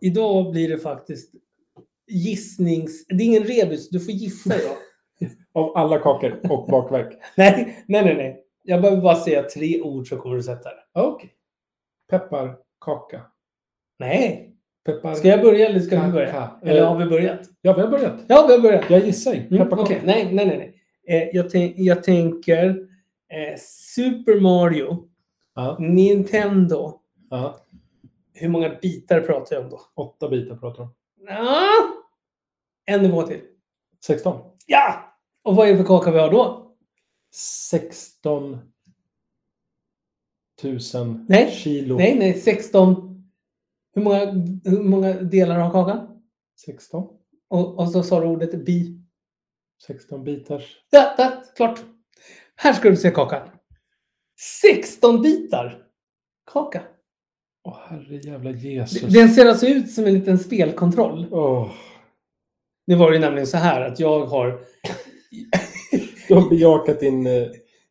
S3: idag blir det faktiskt gissnings... Det är ingen rebus, du får gissa idag.
S2: Av alla kakor och bakverk.
S3: nej, nej, nej, nej. Jag behöver bara säga tre ord så kommer du sätta det.
S2: Okej. Pepparkaka.
S3: Nej.
S2: Peppar...
S3: Ska jag börja eller ska
S2: Kaka.
S3: vi börja?
S2: Eh,
S3: Eller har vi börjat?
S2: Ja, vi har börjat.
S3: Ja, vi har börjat.
S2: Jag gissar ju.
S3: Mm,
S2: Pepparkaka.
S3: okej. Nej, nej, nej. nej. Eh, jag, tän- jag tänker eh, Super Mario,
S2: Ja,
S3: Nintendo.
S2: ja.
S3: Hur många bitar pratar jag om då?
S2: Åtta bitar pratar de.
S3: Ah! En nivå till.
S2: 16.
S3: Ja! Och vad är det för kaka vi har då?
S2: 16 000
S3: Nej.
S2: kilo.
S3: Nej, nej, 16. Hur många, hur många delar har kakan?
S2: 16.
S3: Och, och så sa du ordet bi.
S2: 16 bitars.
S3: Ja, ja, klart. Här ska du se kakan. 16 bitar kaka.
S2: Åh, herre jävla Jesus.
S3: Den ser alltså ut som en liten spelkontroll.
S2: Åh,
S3: Nu var det ju nämligen så här att jag har
S2: du har bejakat din, eh,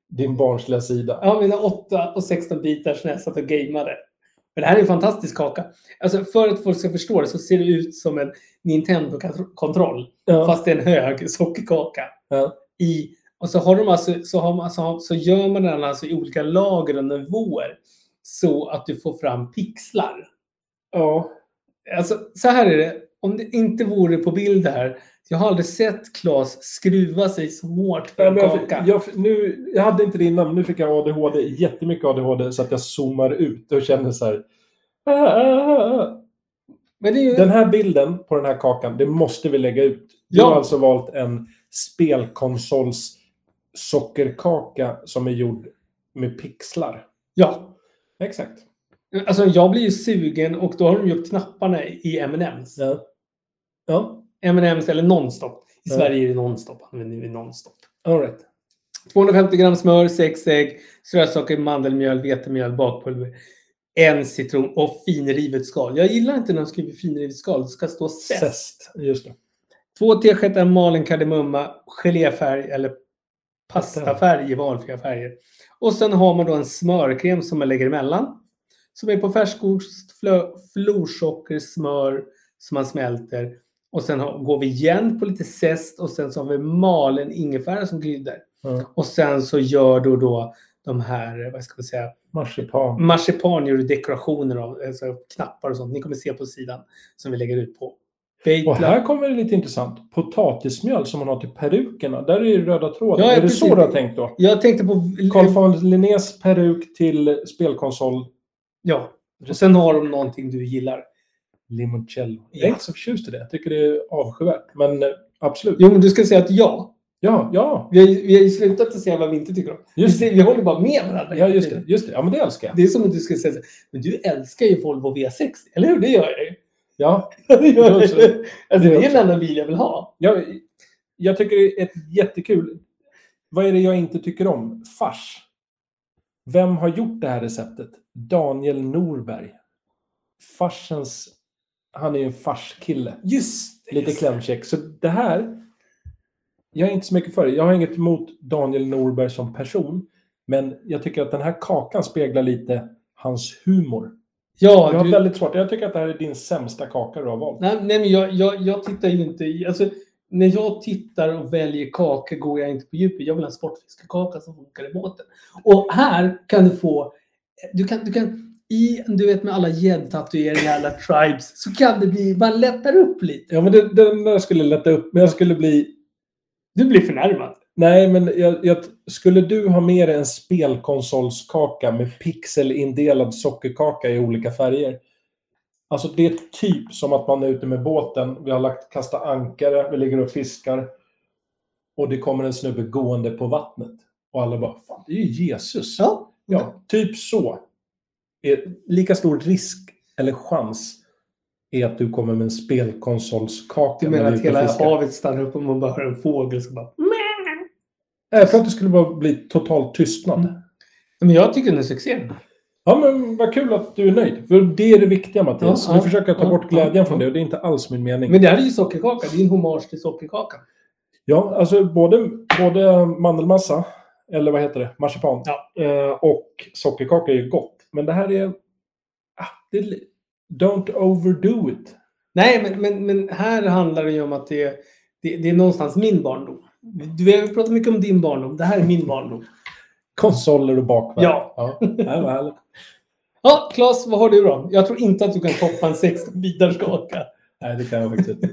S2: din barnsliga sida.
S3: jag har mina 8 och 16 bitar när jag satt och gameade. Men det här är en fantastisk kaka. Alltså för att folk ska förstå det så ser det ut som en Nintendo-kontroll.
S2: Ja.
S3: Fast det är en hög sockerkaka.
S2: Ja.
S3: I, och så, har de alltså, så, har man, så, har, så gör man den alltså i olika lager och nivåer. Så att du får fram pixlar.
S2: ja.
S3: Alltså, så här är det. Om det inte vore på bild här. Jag har aldrig sett Claes skruva sig så hårt för
S2: Ja,
S3: en
S2: men jag,
S3: kaka.
S2: fick- jag, fick- nu, jag hade inte det innan, nu fick jag ADHD, jättemycket ADHD, så att jag zoomar ut och känner så här. "Ah, ah, ah, ah."
S3: Men det är ju...
S2: Den här bilden på den här kakan, det måste vi lägga ut. Du
S3: Ja.
S2: har alltså valt en spelkonsols sockerkaka som är gjord med pixlar.
S3: Ja.
S2: Exakt.
S3: Alltså jag blir ju sugen och då har de ju upp knapparna i M&M's.
S2: Ja. Ja,
S3: M&M's eller Nonstop. I
S2: Ja.
S3: Sverige är det Nonstop. Använder vi Nonstop.
S2: all right.
S3: 250 gram smör, 6 ägg, strösocker, mandelmjöl, vetemjöl, bakpulver. En citron och finrivet skal. Jag gillar inte när de skriver finrivet skal. Det ska stå zest.
S2: Zest. Just det.
S3: Två teskedar malen kardemumma, geléfärg eller pastafärg i valfria färger. Och sen har man då en smörkräm som man lägger emellan. som är på färskost, flö- florsocker, smör som man smälter. Och sen har, går vi igen på lite zest och sen så har vi malen ingefära som kryddor.
S2: Ja.
S3: Och sen så gör du då de här, eh, vad ska man säga,
S2: Marsipan.
S3: Mm. marsipan gör du dekorationer av, alltså knappar och sånt. Ni kommer se på sidan som vi lägger ut på.
S2: Och
S3: Bejtla.
S2: här kommer det lite intressant. Potatismjöl som man har till perukerna. Där är ju röda tråden.
S3: Ja, ja,
S2: är det
S3: precis.
S2: så du har tänkt då?
S3: Jag tänkte på...
S2: Carl von Linnés peruk till spelkonsol
S3: Ja. Och sen har de någonting du gillar.
S2: Limoncello. Jag
S3: Ja.
S2: är inte så förtjust i det. Jag tycker det är avskyvärt. Men eh, absolut.
S3: Jo, men du ska säga att ja.
S2: Ja, ja.
S3: Vi har, ju- vi har ju slutat att säga vad vi inte tycker om.
S2: Just
S3: vi,
S2: det.
S3: ser- vi håller bara med varandra.
S2: Ja, just det. Just det. Ja, men det älskar jag.
S3: Det är som att du skulle säga så här, men du älskar ju Volvo V60, eller hur? Det gör jag ju.
S2: Ja.
S3: Det gör jag
S2: Alltså,
S3: ju. Alltså, det
S2: jag
S3: är en
S2: också.
S3: annan bil jag vill ha.
S2: Jag, jag tycker det är ett jättekul... Vad är det jag inte tycker om? Fars. Vem har gjort det här receptet? Daniel Norberg. Farsens... Han är ju en farskille.
S3: Just
S2: Lite klämkäck. Så det här... Jag är inte så mycket för det. Jag har inget emot Daniel Norberg som person. Men jag tycker att den här kakan speglar lite hans humor. Jag
S3: Ja,
S2: har
S3: du,
S2: väldigt svårt. Jag tycker att det här är din sämsta kaka du har valt.
S3: nej, nej, men jag, jag, jag tittar ju inte i... Alltså, när jag tittar och väljer kakor går jag inte på djupet. Jag vill ha en sportfiskekaka som funkar i båten. Och här kan du få... Du kan, du kan i, du vet med alla gäddtatueringar, alla tribes, så kan det bli... Man lättar upp lite.
S2: Ja, men det, den där skulle lätta upp. Men jag skulle bli
S3: Du blir förnärmad.
S2: Nej, men jag, jag, skulle du ha med dig en spelkonsolskaka med pixelindelad sockerkaka i olika färger? Alltså det är typ som att man är ute med båten, vi har lagt kasta ankare, vi ligger och fiskar och det kommer en snubbe gående på vattnet. Och alla bara, fan det är ju Jesus.
S3: Ja.
S2: Ja, typ så. Är lika stor risk eller chans är att du kommer med en spelkonsolskaka
S3: Du
S2: när vi är
S3: menar att
S2: ute och
S3: hela
S2: fiskar.
S3: havet stannar upp och man bara hör en fågel som bara...
S2: Jag tror att det skulle bara bli total tystnad.
S3: Mm. Men jag tycker den är succé.
S2: Ja, men vad kul att du är nöjd. För det är det viktiga, Mattias.
S3: Ja,
S2: nu
S3: ja,
S2: försöker jag ta
S3: ja,
S2: bort glädjen
S3: ja,
S2: från
S3: ja.
S2: det och det är inte alls min mening.
S3: Men det här är ju sockerkaka. Det är en hommage till sockerkakan.
S2: Ja, alltså både, både mandelmassa, eller vad heter det, marsipan, eh, och sockerkaka är ju gott. Men det här är... Ah, det är li- don't overdo it.
S3: Nej, men, men, men här handlar det ju om att det, det, det är någonstans min barndom. Du vi har ju pratat mycket om din barndom. Det här är min barndom.
S2: Konsoler och bakverk.
S3: Ja.
S2: ja. Det här var härligt.
S3: Ja, Claes, vad har du då? Jag tror inte att du kan toppa en 16 bitars kaka.
S2: Nej, det kan jag faktiskt inte.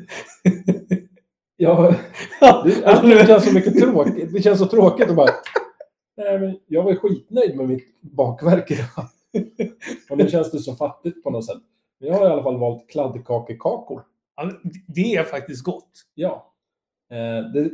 S2: Jag,
S3: Ja,
S2: det, alltså, det känns så mycket tråkigt. Det känns så tråkigt att bara... Nej, men jag var skitnöjd med mitt bakverk idag. Och nu känns det så fattigt på något sätt. Men jag har i alla fall valt kladdkakekakor.
S3: men det är faktiskt gott.
S2: Ja. Eh, det,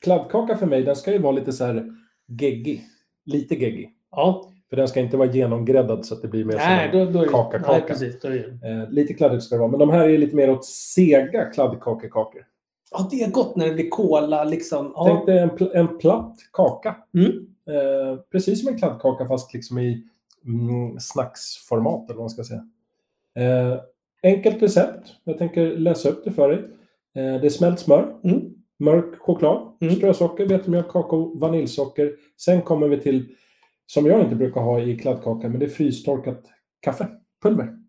S2: kladdkaka för mig, den ska ju vara lite så här geggig. Lite geggig.
S3: Ja,
S2: För den ska inte vara genomgräddad så att det blir mer
S3: nej,
S2: som en
S3: då, då är det...
S2: kaka,
S3: Nej,
S2: kaka.
S3: precis. Då är det...
S2: Eh, lite kladdigt ska det vara. Men de här är lite mer åt sega kladdkakekakor.
S3: Ja, det är gott när det blir kola liksom. Ja.
S2: Tänk dig en, pl- en platt kaka.
S3: Mm.
S2: Eh, precis som en kladdkaka fast liksom i mm, snacksformat eller vad man ska säga. Eh, enkelt recept. Jag tänker läsa upp det för dig. Eh, det är smält smör,
S3: Mm.
S2: mörk choklad,
S3: Mm.
S2: strösocker, vetemjöl, kakao, vaniljsocker. Sen kommer vi till, som jag inte brukar ha i kladdkaka, men det är frystorkat kaffe, pulver.
S3: Mm,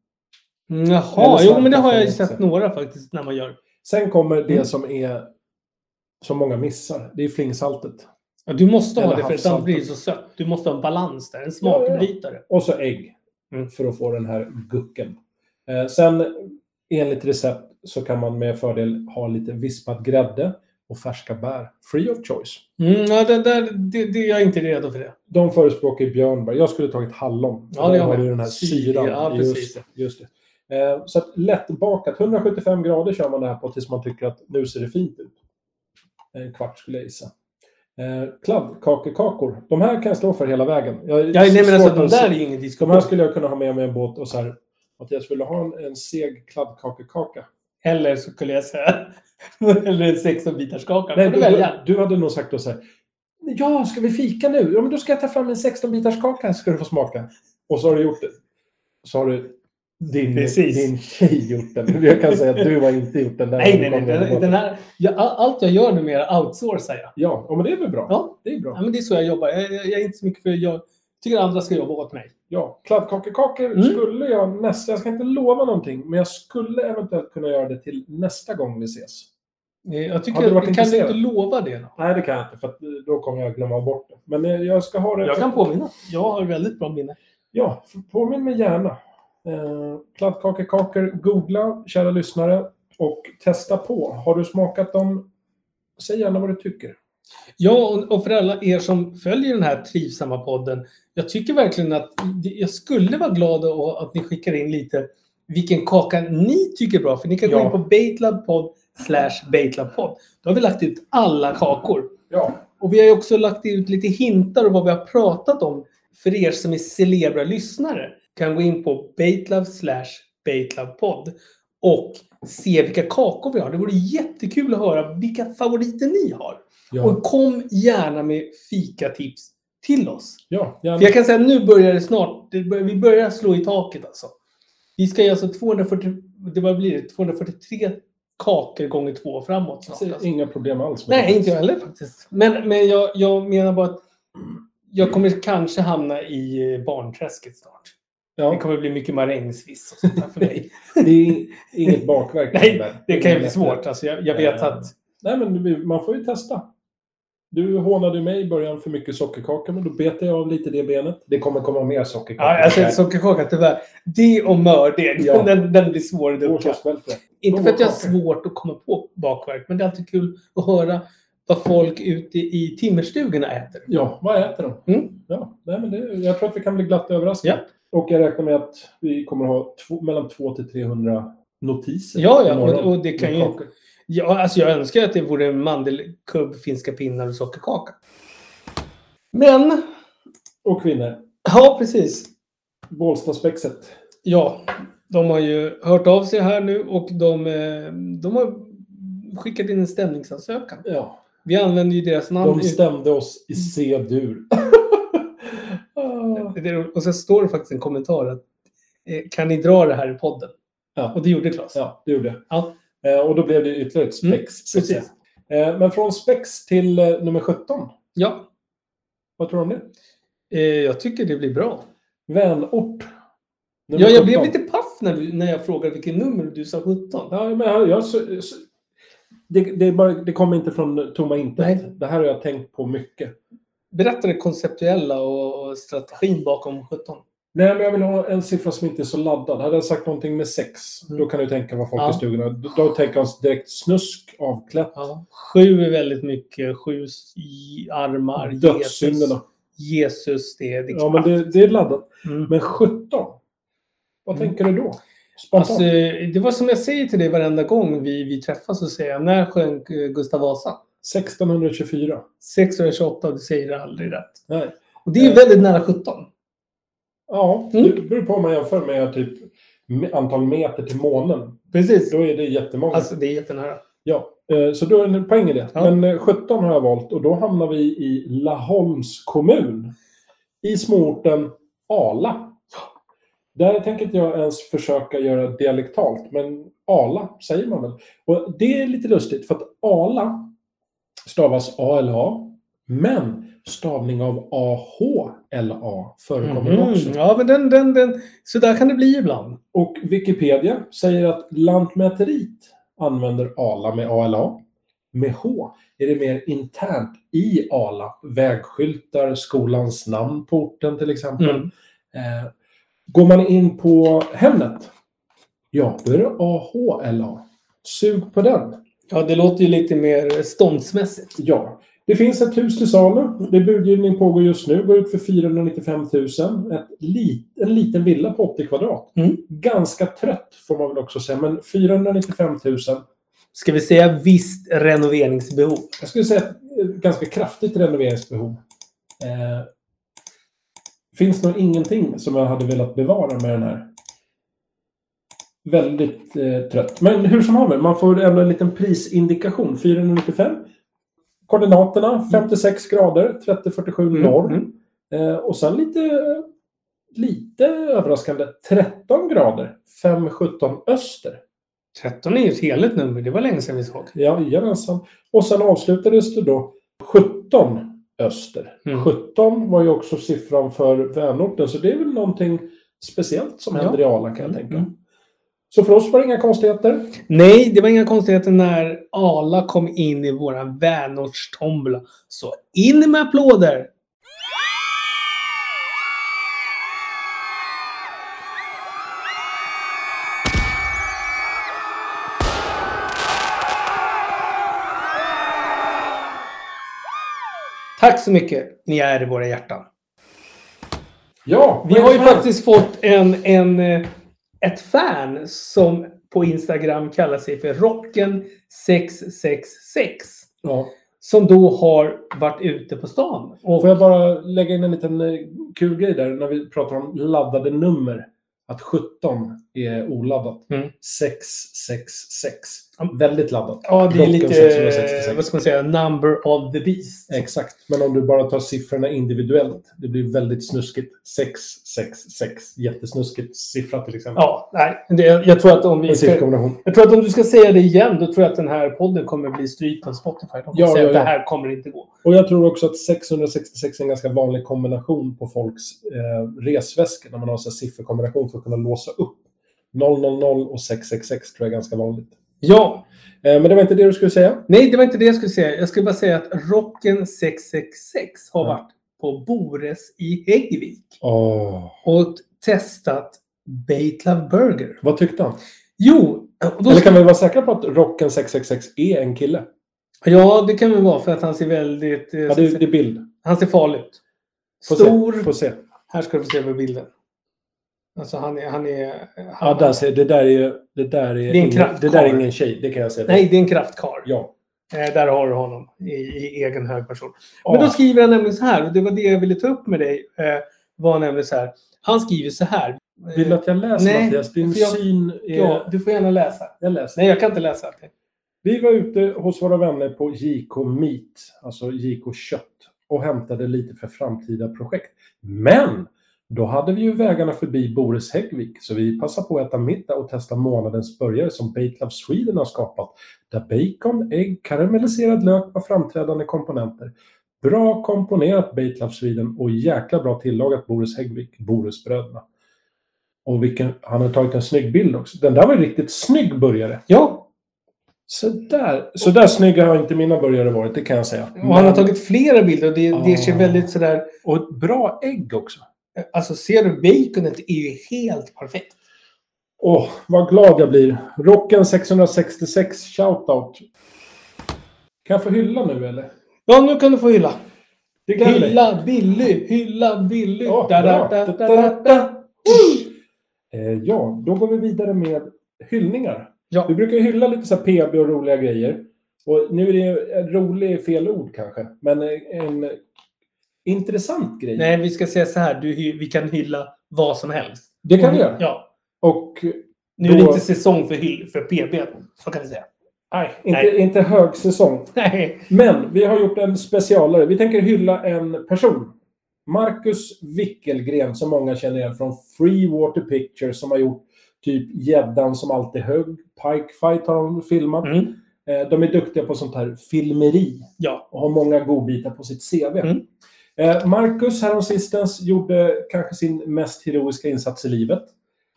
S2: Eller
S3: Jaha,
S2: så
S3: jo
S2: här
S3: men det har
S2: kaffe
S3: jag ju
S2: också.
S3: sett några faktiskt när man gör.
S2: Sen kommer det
S3: Mm.
S2: som är som många missar, det är flingsaltet.
S3: Ja, Du måste ha
S2: Eller
S3: det för att annars
S2: havssaltet.
S3: blir det så sött. Du måste ha en balans där, en
S2: Ja, ja.
S3: smakbrytare.
S2: Och så ägg.
S3: Mm.
S2: För att få den här gucken. Eh, sen enligt recept så kan man med fördel ha lite vispad grädde och färska bär. Free of choice.
S3: Mm, ja, det, där, det, det, jag är inte redo för det.
S2: De förespråkar ju björnbär. Jag skulle tagit hallon.
S3: Ja, det
S2: Där
S3: har
S2: har
S3: vi.
S2: du den här
S3: Syra,
S2: syran.
S3: ja,
S2: just
S3: precis.
S2: det. Just det. Eh, så att lättbakat. 175 grader kör man det här på tills man tycker att nu ser det fint ut. En kvart skulle jag gissa. Eh, Kladdkakekakor. De här kan jag stå för hela vägen. Jag är
S3: Ja, nej, men alltså,
S2: svårt
S3: de
S2: att
S3: där
S2: se-
S3: är ju ingen
S2: De
S3: diskussion.
S2: här skulle jag kunna ha med mig i en båt och så här, Mattias, vill du ha en, en seg kladdkakekaka?
S3: Eller så skulle jag säga, eller en 16 bitars kaka.
S2: Nej,
S3: får du
S2: du,
S3: välja.
S2: du hade nog sagt då så här, ja, ska vi fika nu? Ja, men då ska jag ta fram en 16-bitars kaka ska du få smaka. Och så har du gjort det. Så har du din,
S3: Precis.
S2: din tjej gjort den. Jag kan säga att du har inte gjort den. Där
S3: Nej,
S2: när
S3: nej,
S2: du
S3: nej.
S2: kom ner i
S3: Den,
S2: båten.
S3: den här, jag, all- allt jag gör numera outsourcar jag.
S2: Ja, ja, men det är väl bra.
S3: Ja.
S2: Det är bra.
S3: Ja, men det är så jag jobbar. Jag, jag, jag är inte så mycket för att jag tycker andra ska jobba åt mig.
S2: Ja, kladdkakekakor
S3: Mm.
S2: skulle jag nästa... Jag ska inte lova någonting, men jag skulle eventuellt kunna göra det till nästa gång vi ses.
S3: Eh, Jag tycker
S2: Hade du varit
S3: att, kan du inte
S2: intresserad?
S3: lova det? Då?
S2: Nej, det kan jag inte, för att eh, då kommer jag glömma bort det. Men eh, jag ska ha det...
S3: Jag kan påminna. Jag har väldigt bra minne.
S2: Ja, för- påminn mig gärna. Eh, kladdkakekakor, googla, kära lyssnare, och testa på. Har du smakat dem, säg gärna vad du tycker.
S3: Ja, och- och för alla er som följer den här trivsamma podden. Jag tycker verkligen att jag skulle vara glad å- att ni skickar in lite vilken kaka ni tycker är bra. För ni kan gå
S2: Ja.
S3: in på baitlabpodd slash baitlabpodd. Då har vi lagt ut alla kakor.
S2: Ja,
S3: Och vi har ju också lagt ut lite hintar om vad vi har pratat om för er som är celebra lyssnare. Kan gå in på baitlove slash baitlabpodd och se vilka kakor vi har. Det vore jättekul att höra vilka favoriter ni har.
S2: ja,
S3: Och kom gärna med fikatips till oss.
S2: ja gärna.
S3: För jag kan säga att nu börjar det snart. Det bör, vi börjar slå i taket alltså. Vi ska göra alltså 240, det bara blir det, 243 kakor gånger två framåt. Snart,
S2: Jag ser
S3: alltså.
S2: Inga problem alls med
S3: Nej,
S2: det.
S3: inte jag heller faktiskt. Men, men jag, jag menar bara att jag kommer kanske hamna i eh, barnträsket snart. Det
S2: Ja,
S3: kommer bli mycket marängsviss och sånt där för mig.
S2: det är inget bakverk.
S3: Nej,
S2: men-
S3: Det kan ju bli svårt. Alltså, jag, jag vet
S2: Eh,
S3: att...
S2: Nej, men vi- man får ju testa. Du hånade mig i början för mycket sockerkaka, men då betade jag av lite det benet. Det kommer komma mer sockerkaka.
S3: Ja, alltså sockerkaka tyvärr. Det och mördeg,
S2: Ja.
S3: den, den blir svår att
S2: Vår
S3: ducka.
S2: torskvälte.
S3: Inte för att jag har
S2: kakor.
S3: svårt att komma på bakverk, men det är alltid kul att höra vad folk ute i timmerstugorna äter.
S2: Ja, vad äter de?
S3: Mm.
S2: Ja, nej, men det, jag tror att vi kan bli glatt överraskade. Och jag räknar med att vi kommer ha två, mellan 200 till 300 notiser.
S3: Ja, ja,
S2: imorgon.
S3: och, och det kan ju...
S2: kakor.
S3: Ja, alltså jag önskar att det vore mandelkubb, finska pinnar och sockerkaka. Men,
S2: Och kvinnor.
S3: ja precis.
S2: Bålstaspexet.
S3: Ja, de har ju hört av sig här nu och de, eh, de har skickat in en stämningsansökan.
S2: Ja.
S3: Vi använder ju deras namn.
S2: De stämde oss i C-dur. Ah.
S3: Det är- Och sen står det faktiskt en kommentar att eh, kan ni dra det här i podden?
S2: Ja.
S3: Och det gjorde Claes.
S2: ja, det gjorde jag.
S3: Ja.
S2: Eh, och då blev det ytterligare ett spex.
S3: Mm,
S2: så att
S3: precis.
S2: säga. Eh, men från spex till eh, nummer 17.
S3: Ja,
S2: Vad tror du om det?
S3: eh, jag tycker det blir bra.
S2: Vänort. Nummer
S3: Ja, jag
S2: 17.
S3: blev lite paff när, du, när jag frågade vilket nummer och du sa 17.
S2: Ja, men jag, jag, så, så, det, det, är bara, det kommer inte från tomma intet.
S3: Nej.
S2: Det här har jag tänkt på mycket.
S3: Berätta det konceptuella och och strategin bakom 17.
S2: Nej, men jag vill ha en siffra som inte är så laddad. Hade jag sagt någonting med sex,
S3: Mm.
S2: då kan du tänka vad folk
S3: Ja.
S2: i stugorna... Då, då tänker jag direkt snusk, avklätt,
S3: Ja. Sju är väldigt mycket. Sju s- i- armar. Jesus.
S2: dödssynderna.
S3: Jesus, det är det.
S2: Ja, men det, det är laddat.
S3: Mm.
S2: Men 17, vad
S3: Mm.
S2: tänker du då? Spontant?
S3: Alltså, det var som jag säger till dig varenda gång vi, vi träffas så säger jag, när sjönk eh, Gustav Vasa?
S2: 1624.
S3: 628 och du säger det aldrig rätt.
S2: Nej.
S3: Och det är ju väldigt nära 17.
S2: Ja,
S3: Mm.
S2: det beror på om man jämför med typ me- antal meter till månen.
S3: Precis.
S2: Då är det jättemånga.
S3: Alltså det är jättenära.
S2: Ja, eh, så då är det en poäng i det.
S3: Ja.
S2: Men eh, 17 har jag valt och då hamnar vi i Laholms kommun. I småorten Ala. Där tänker inte jag ens försöka göra dialektalt, men Ala säger man väl. Och det är lite lustigt för att Ala stavas ALA, men stavning av AHLA förekommer
S3: Mhm.
S2: också.
S3: Ja, men den, den, den. Så där kan det bli ibland.
S2: Och Wikipedia säger att Lantmäteriet använder ALA med ALA. Med H är det mer internt i ALA. Vägskyltar, skolans namn på orten till exempel.
S3: Mm.
S2: Eh, går man in på Hemnet, ja då är det AHLA. Sug på den.
S3: Ja, det låter ju lite mer ståndsmässigt.
S2: Ja. Det finns ett hus till salu. Det är budgivning pågår just nu. Går ut för 495 000. Ett lit, en liten villa på 80 kvadrat.
S3: Mm.
S2: Ganska trött får man väl också säga. Men 495 000.
S3: Ska vi säga visst renoveringsbehov?
S2: Jag skulle säga ett eh, ganska kraftigt renoveringsbehov. Eh, finns nog ingenting som jag hade velat bevara med den här. Väldigt eh, trött. Men hur som haver, man får ändå en liten prisindikation. 495. Koordinaterna 56 grader, 30-47 norr.
S3: Mm.
S2: Eh, och sen lite, lite överraskande 13 grader, 5-17 öster.
S3: 13 är ju ett heligt nummer. Det var länge sedan vi såg.
S2: Jajamensan. Och sen avslutades det då 17 öster.
S3: Mm.
S2: 17 var ju också siffran för vänorten, så det är väl någonting speciellt som
S3: Ja.
S2: händer i Ala kan jag
S3: Mm,
S2: tänka.
S3: mm.
S2: Så för oss var det inga konstigheter.
S3: Nej, det var inga konstigheter när Ala kom in i våran vänortstombola. Så in med applåder! Tack så mycket. Ni är i våra hjärtan.
S2: Ja,
S3: Vi har ju faktiskt fått en, en, eh, ett fan som på Instagram kallar sig för Rocken666.
S2: Ja.
S3: Som då har varit ute på stan.
S2: Och får jag bara lägga in en liten eh, kul grej där när vi pratar om laddade nummer. Att 17 är oladdat.
S3: Mm.
S2: 666.
S3: Ja.
S2: Väldigt laddat.
S3: Ja, det är
S2: Rocken
S3: lite,
S2: 666.
S3: eh, vad ska man säga, number of the beast.
S2: Exakt. Men om du bara tar siffrorna individuellt. Det blir väldigt snuskigt. 666. Jättesnuskigt. Siffra till exempel.
S3: Ja, nej, det, jag tror att om vi...
S2: En siffrkombination.
S3: Jag tror att om du ska säga det igen, då tror jag att den här podden kommer bli strypt på Spotify. De kommer
S2: Ja,
S3: säga
S2: ja,
S3: att
S2: ja.
S3: det här kommer inte gå.
S2: Och jag tror också att 666 är en ganska vanlig kombination på folks eh, resväskor. När man har en sån här sifferkombination för att kunna låsa upp. 000 och 666 tror jag är ganska vanligt.
S3: Ja,
S2: Eh, Men det var inte det du skulle säga?
S3: Nej, det var inte det jag skulle säga. Jag skulle bara säga att Rocken 666 har
S2: Ja.
S3: varit på Bores i Häggvik
S2: Åh.
S3: och testat Baitlove Burger.
S2: Vad tyckte han?
S3: Jo, och då
S2: Eller kan vi vara säkra på att Rocken 666 är en kille?
S3: ja det kan väl vara för att han ser väldigt... eh,
S2: Ja, det, det är bild.
S3: Han ser farlig ut.
S2: Får
S3: Stor.
S2: se. Får se.
S3: Här ska du få se på bilden. Alltså han är... Han är han,
S2: Ja, där, ser- det där är ju... Det där är,
S3: Det är en
S2: ingen, det där är
S3: kraftkarl.
S2: ingen tjej, det kan jag säga.
S3: nej, det är en kraftkarl.
S2: Ja.
S3: Eh, där har du honom i, i egen hög person.
S2: Ja.
S3: Men då skriver han nämligen så här, och det var det jag ville ta upp med dig. Eh, var nämligen så här. Han skriver så här.
S2: Vill du att jag läser
S3: Nej,
S2: Mattias? Din
S3: för jag-
S2: syn är...
S3: Ja, du får gärna läsa.
S2: Jag läser.
S3: Nej, jag kan inte läsa allting.
S2: Vi var ute hos våra vänner på JK Meat, alltså JK Kött, och hämtade lite för framtida projekt. Men! Då hade vi ju vägarna förbi Boris Häggvik, så vi passade på att äta middag och testa månadens burgare som Baitlab Sweden har skapat, där bacon, ägg, karamelliserad lök var framträdande komponenter. Bra komponerat Baitlab Sweden och jäkla bra tillagat Boris Häggvik, Borisbröderna. Och vilken, han har tagit en snygg bild också. Den där var en riktigt snygg burgare.
S3: Ja,
S2: Så där, så där snygga har inte mina burgare varit, det kan jag säga.
S3: och han har tagit flera bilder och det, det ser
S2: Ah.
S3: väldigt sådär...
S2: och ett bra ägg också.
S3: Alltså ser du, baconet är ju helt perfekt.
S2: Åh, vad glad jag blir. Rocken 666 shoutout. Kan jag få hylla nu eller?
S3: Ja, nu kan du få hylla.
S2: Det gläder mig.
S3: Hylla Billy, hylla Billy.
S2: Ja,
S3: Da, da,
S2: bra.
S3: da,
S2: Da,
S3: da,
S2: da,
S3: da, da.
S2: Eh, ja, då går vi vidare med hyllningar.
S3: Ja,
S2: Vi brukar ju hylla lite så här PB och roliga grejer. Och nu är det ju en rolig fel ord kanske, men eh, en intressant grej.
S3: nej, vi ska säga så här. Du, hy- vi kan hylla vad som helst.
S2: Det kan vi göra.
S3: Ja.
S2: Och
S3: Nu är det
S2: Då-
S3: inte säsong för, hyll, för PB, så kan vi säga.
S2: nej, inte,
S3: Nej.
S2: inte högsäsong.
S3: Nej.
S2: Men vi har gjort en specialare. Vi tänker hylla en person. Marcus Wickelgren, som många känner igen från Free Water Pictures, som har gjort typ Gäddan som alltid högg. Pike Fight har de filmat.
S3: Mm.
S2: Eh, De är duktiga på sånt här filmeri
S3: Ja.
S2: och har många godbitar på sitt CV.
S3: Mm.
S2: Eh, Marcus häromsistens gjorde kanske sin mest heroiska insats i livet.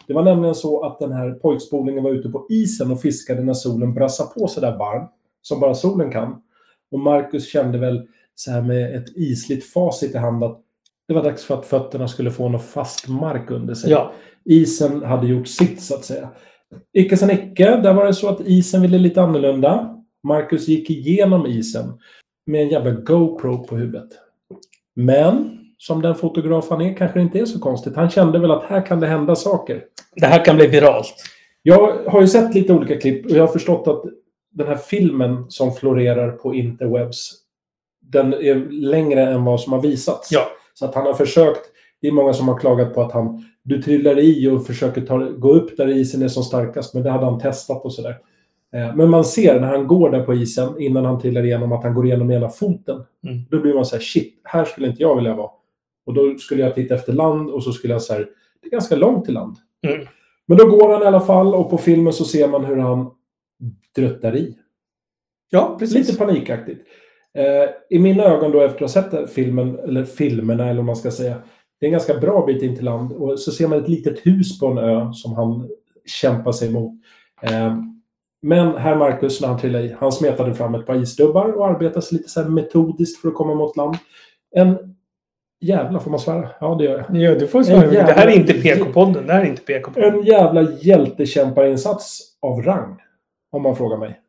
S2: Det var nämligen så att den här pojkspolingen var ute på isen och fiskade när solen brassade på så där varmt som bara solen kan. Och Marcus kände väl så här med ett isligt facit i hand att det var dags för att fötterna skulle få någon fast mark under sig.
S3: ja.
S2: Isen hade gjort sitt, så att säga. Icke sen icke, där var det så att isen ville lite annorlunda. Marcus gick igenom isen med en jävla GoPro på huvudet. Men, som den fotograf han är, kanske det inte är så konstigt. Han kände väl att här kan det hända saker.
S3: Det här kan bli viralt.
S2: Jag har ju sett lite olika klipp och jag har förstått att den här filmen som florerar på interwebs, den är längre än vad som har visats.
S3: Ja.
S2: Så att han har försökt, det är många som har klagat på att han, du trillar i och försöker ta, gå upp där isen är som starkast, men det hade han testat och sådär. Eh, Men man ser när han går där på isen, innan han trillar igenom, att han går igenom med ena foten.
S3: Mm.
S2: Då blir man så här, shit, här skulle inte jag vilja vara. Och då skulle jag titta efter land och så skulle jag så här, det är ganska långt till land.
S3: Mm.
S2: Men då går han i alla fall och på filmen så ser man hur han dröttar i.
S3: Ja,
S2: Lite panikaktigt. Eh, I mina ögon då efter att ha sett den filmen, eller filmerna eller vad man ska säga, det är en ganska bra bit in till land och så ser man ett litet hus på en ö som han kämpar sig emot. Eh, men herr Marcus, när han trillade i, han smetade fram ett par isdubbar och arbetade sig lite så här metodiskt för att komma mot land. En jävla, får man svära? Ja, det gör jag.
S3: Ja, du får svara.
S2: En jävla-
S3: Det här är inte PK-podden. Det här är inte PK-podden.
S2: En jävla hjältekämparinsats av rang, om man frågar mig.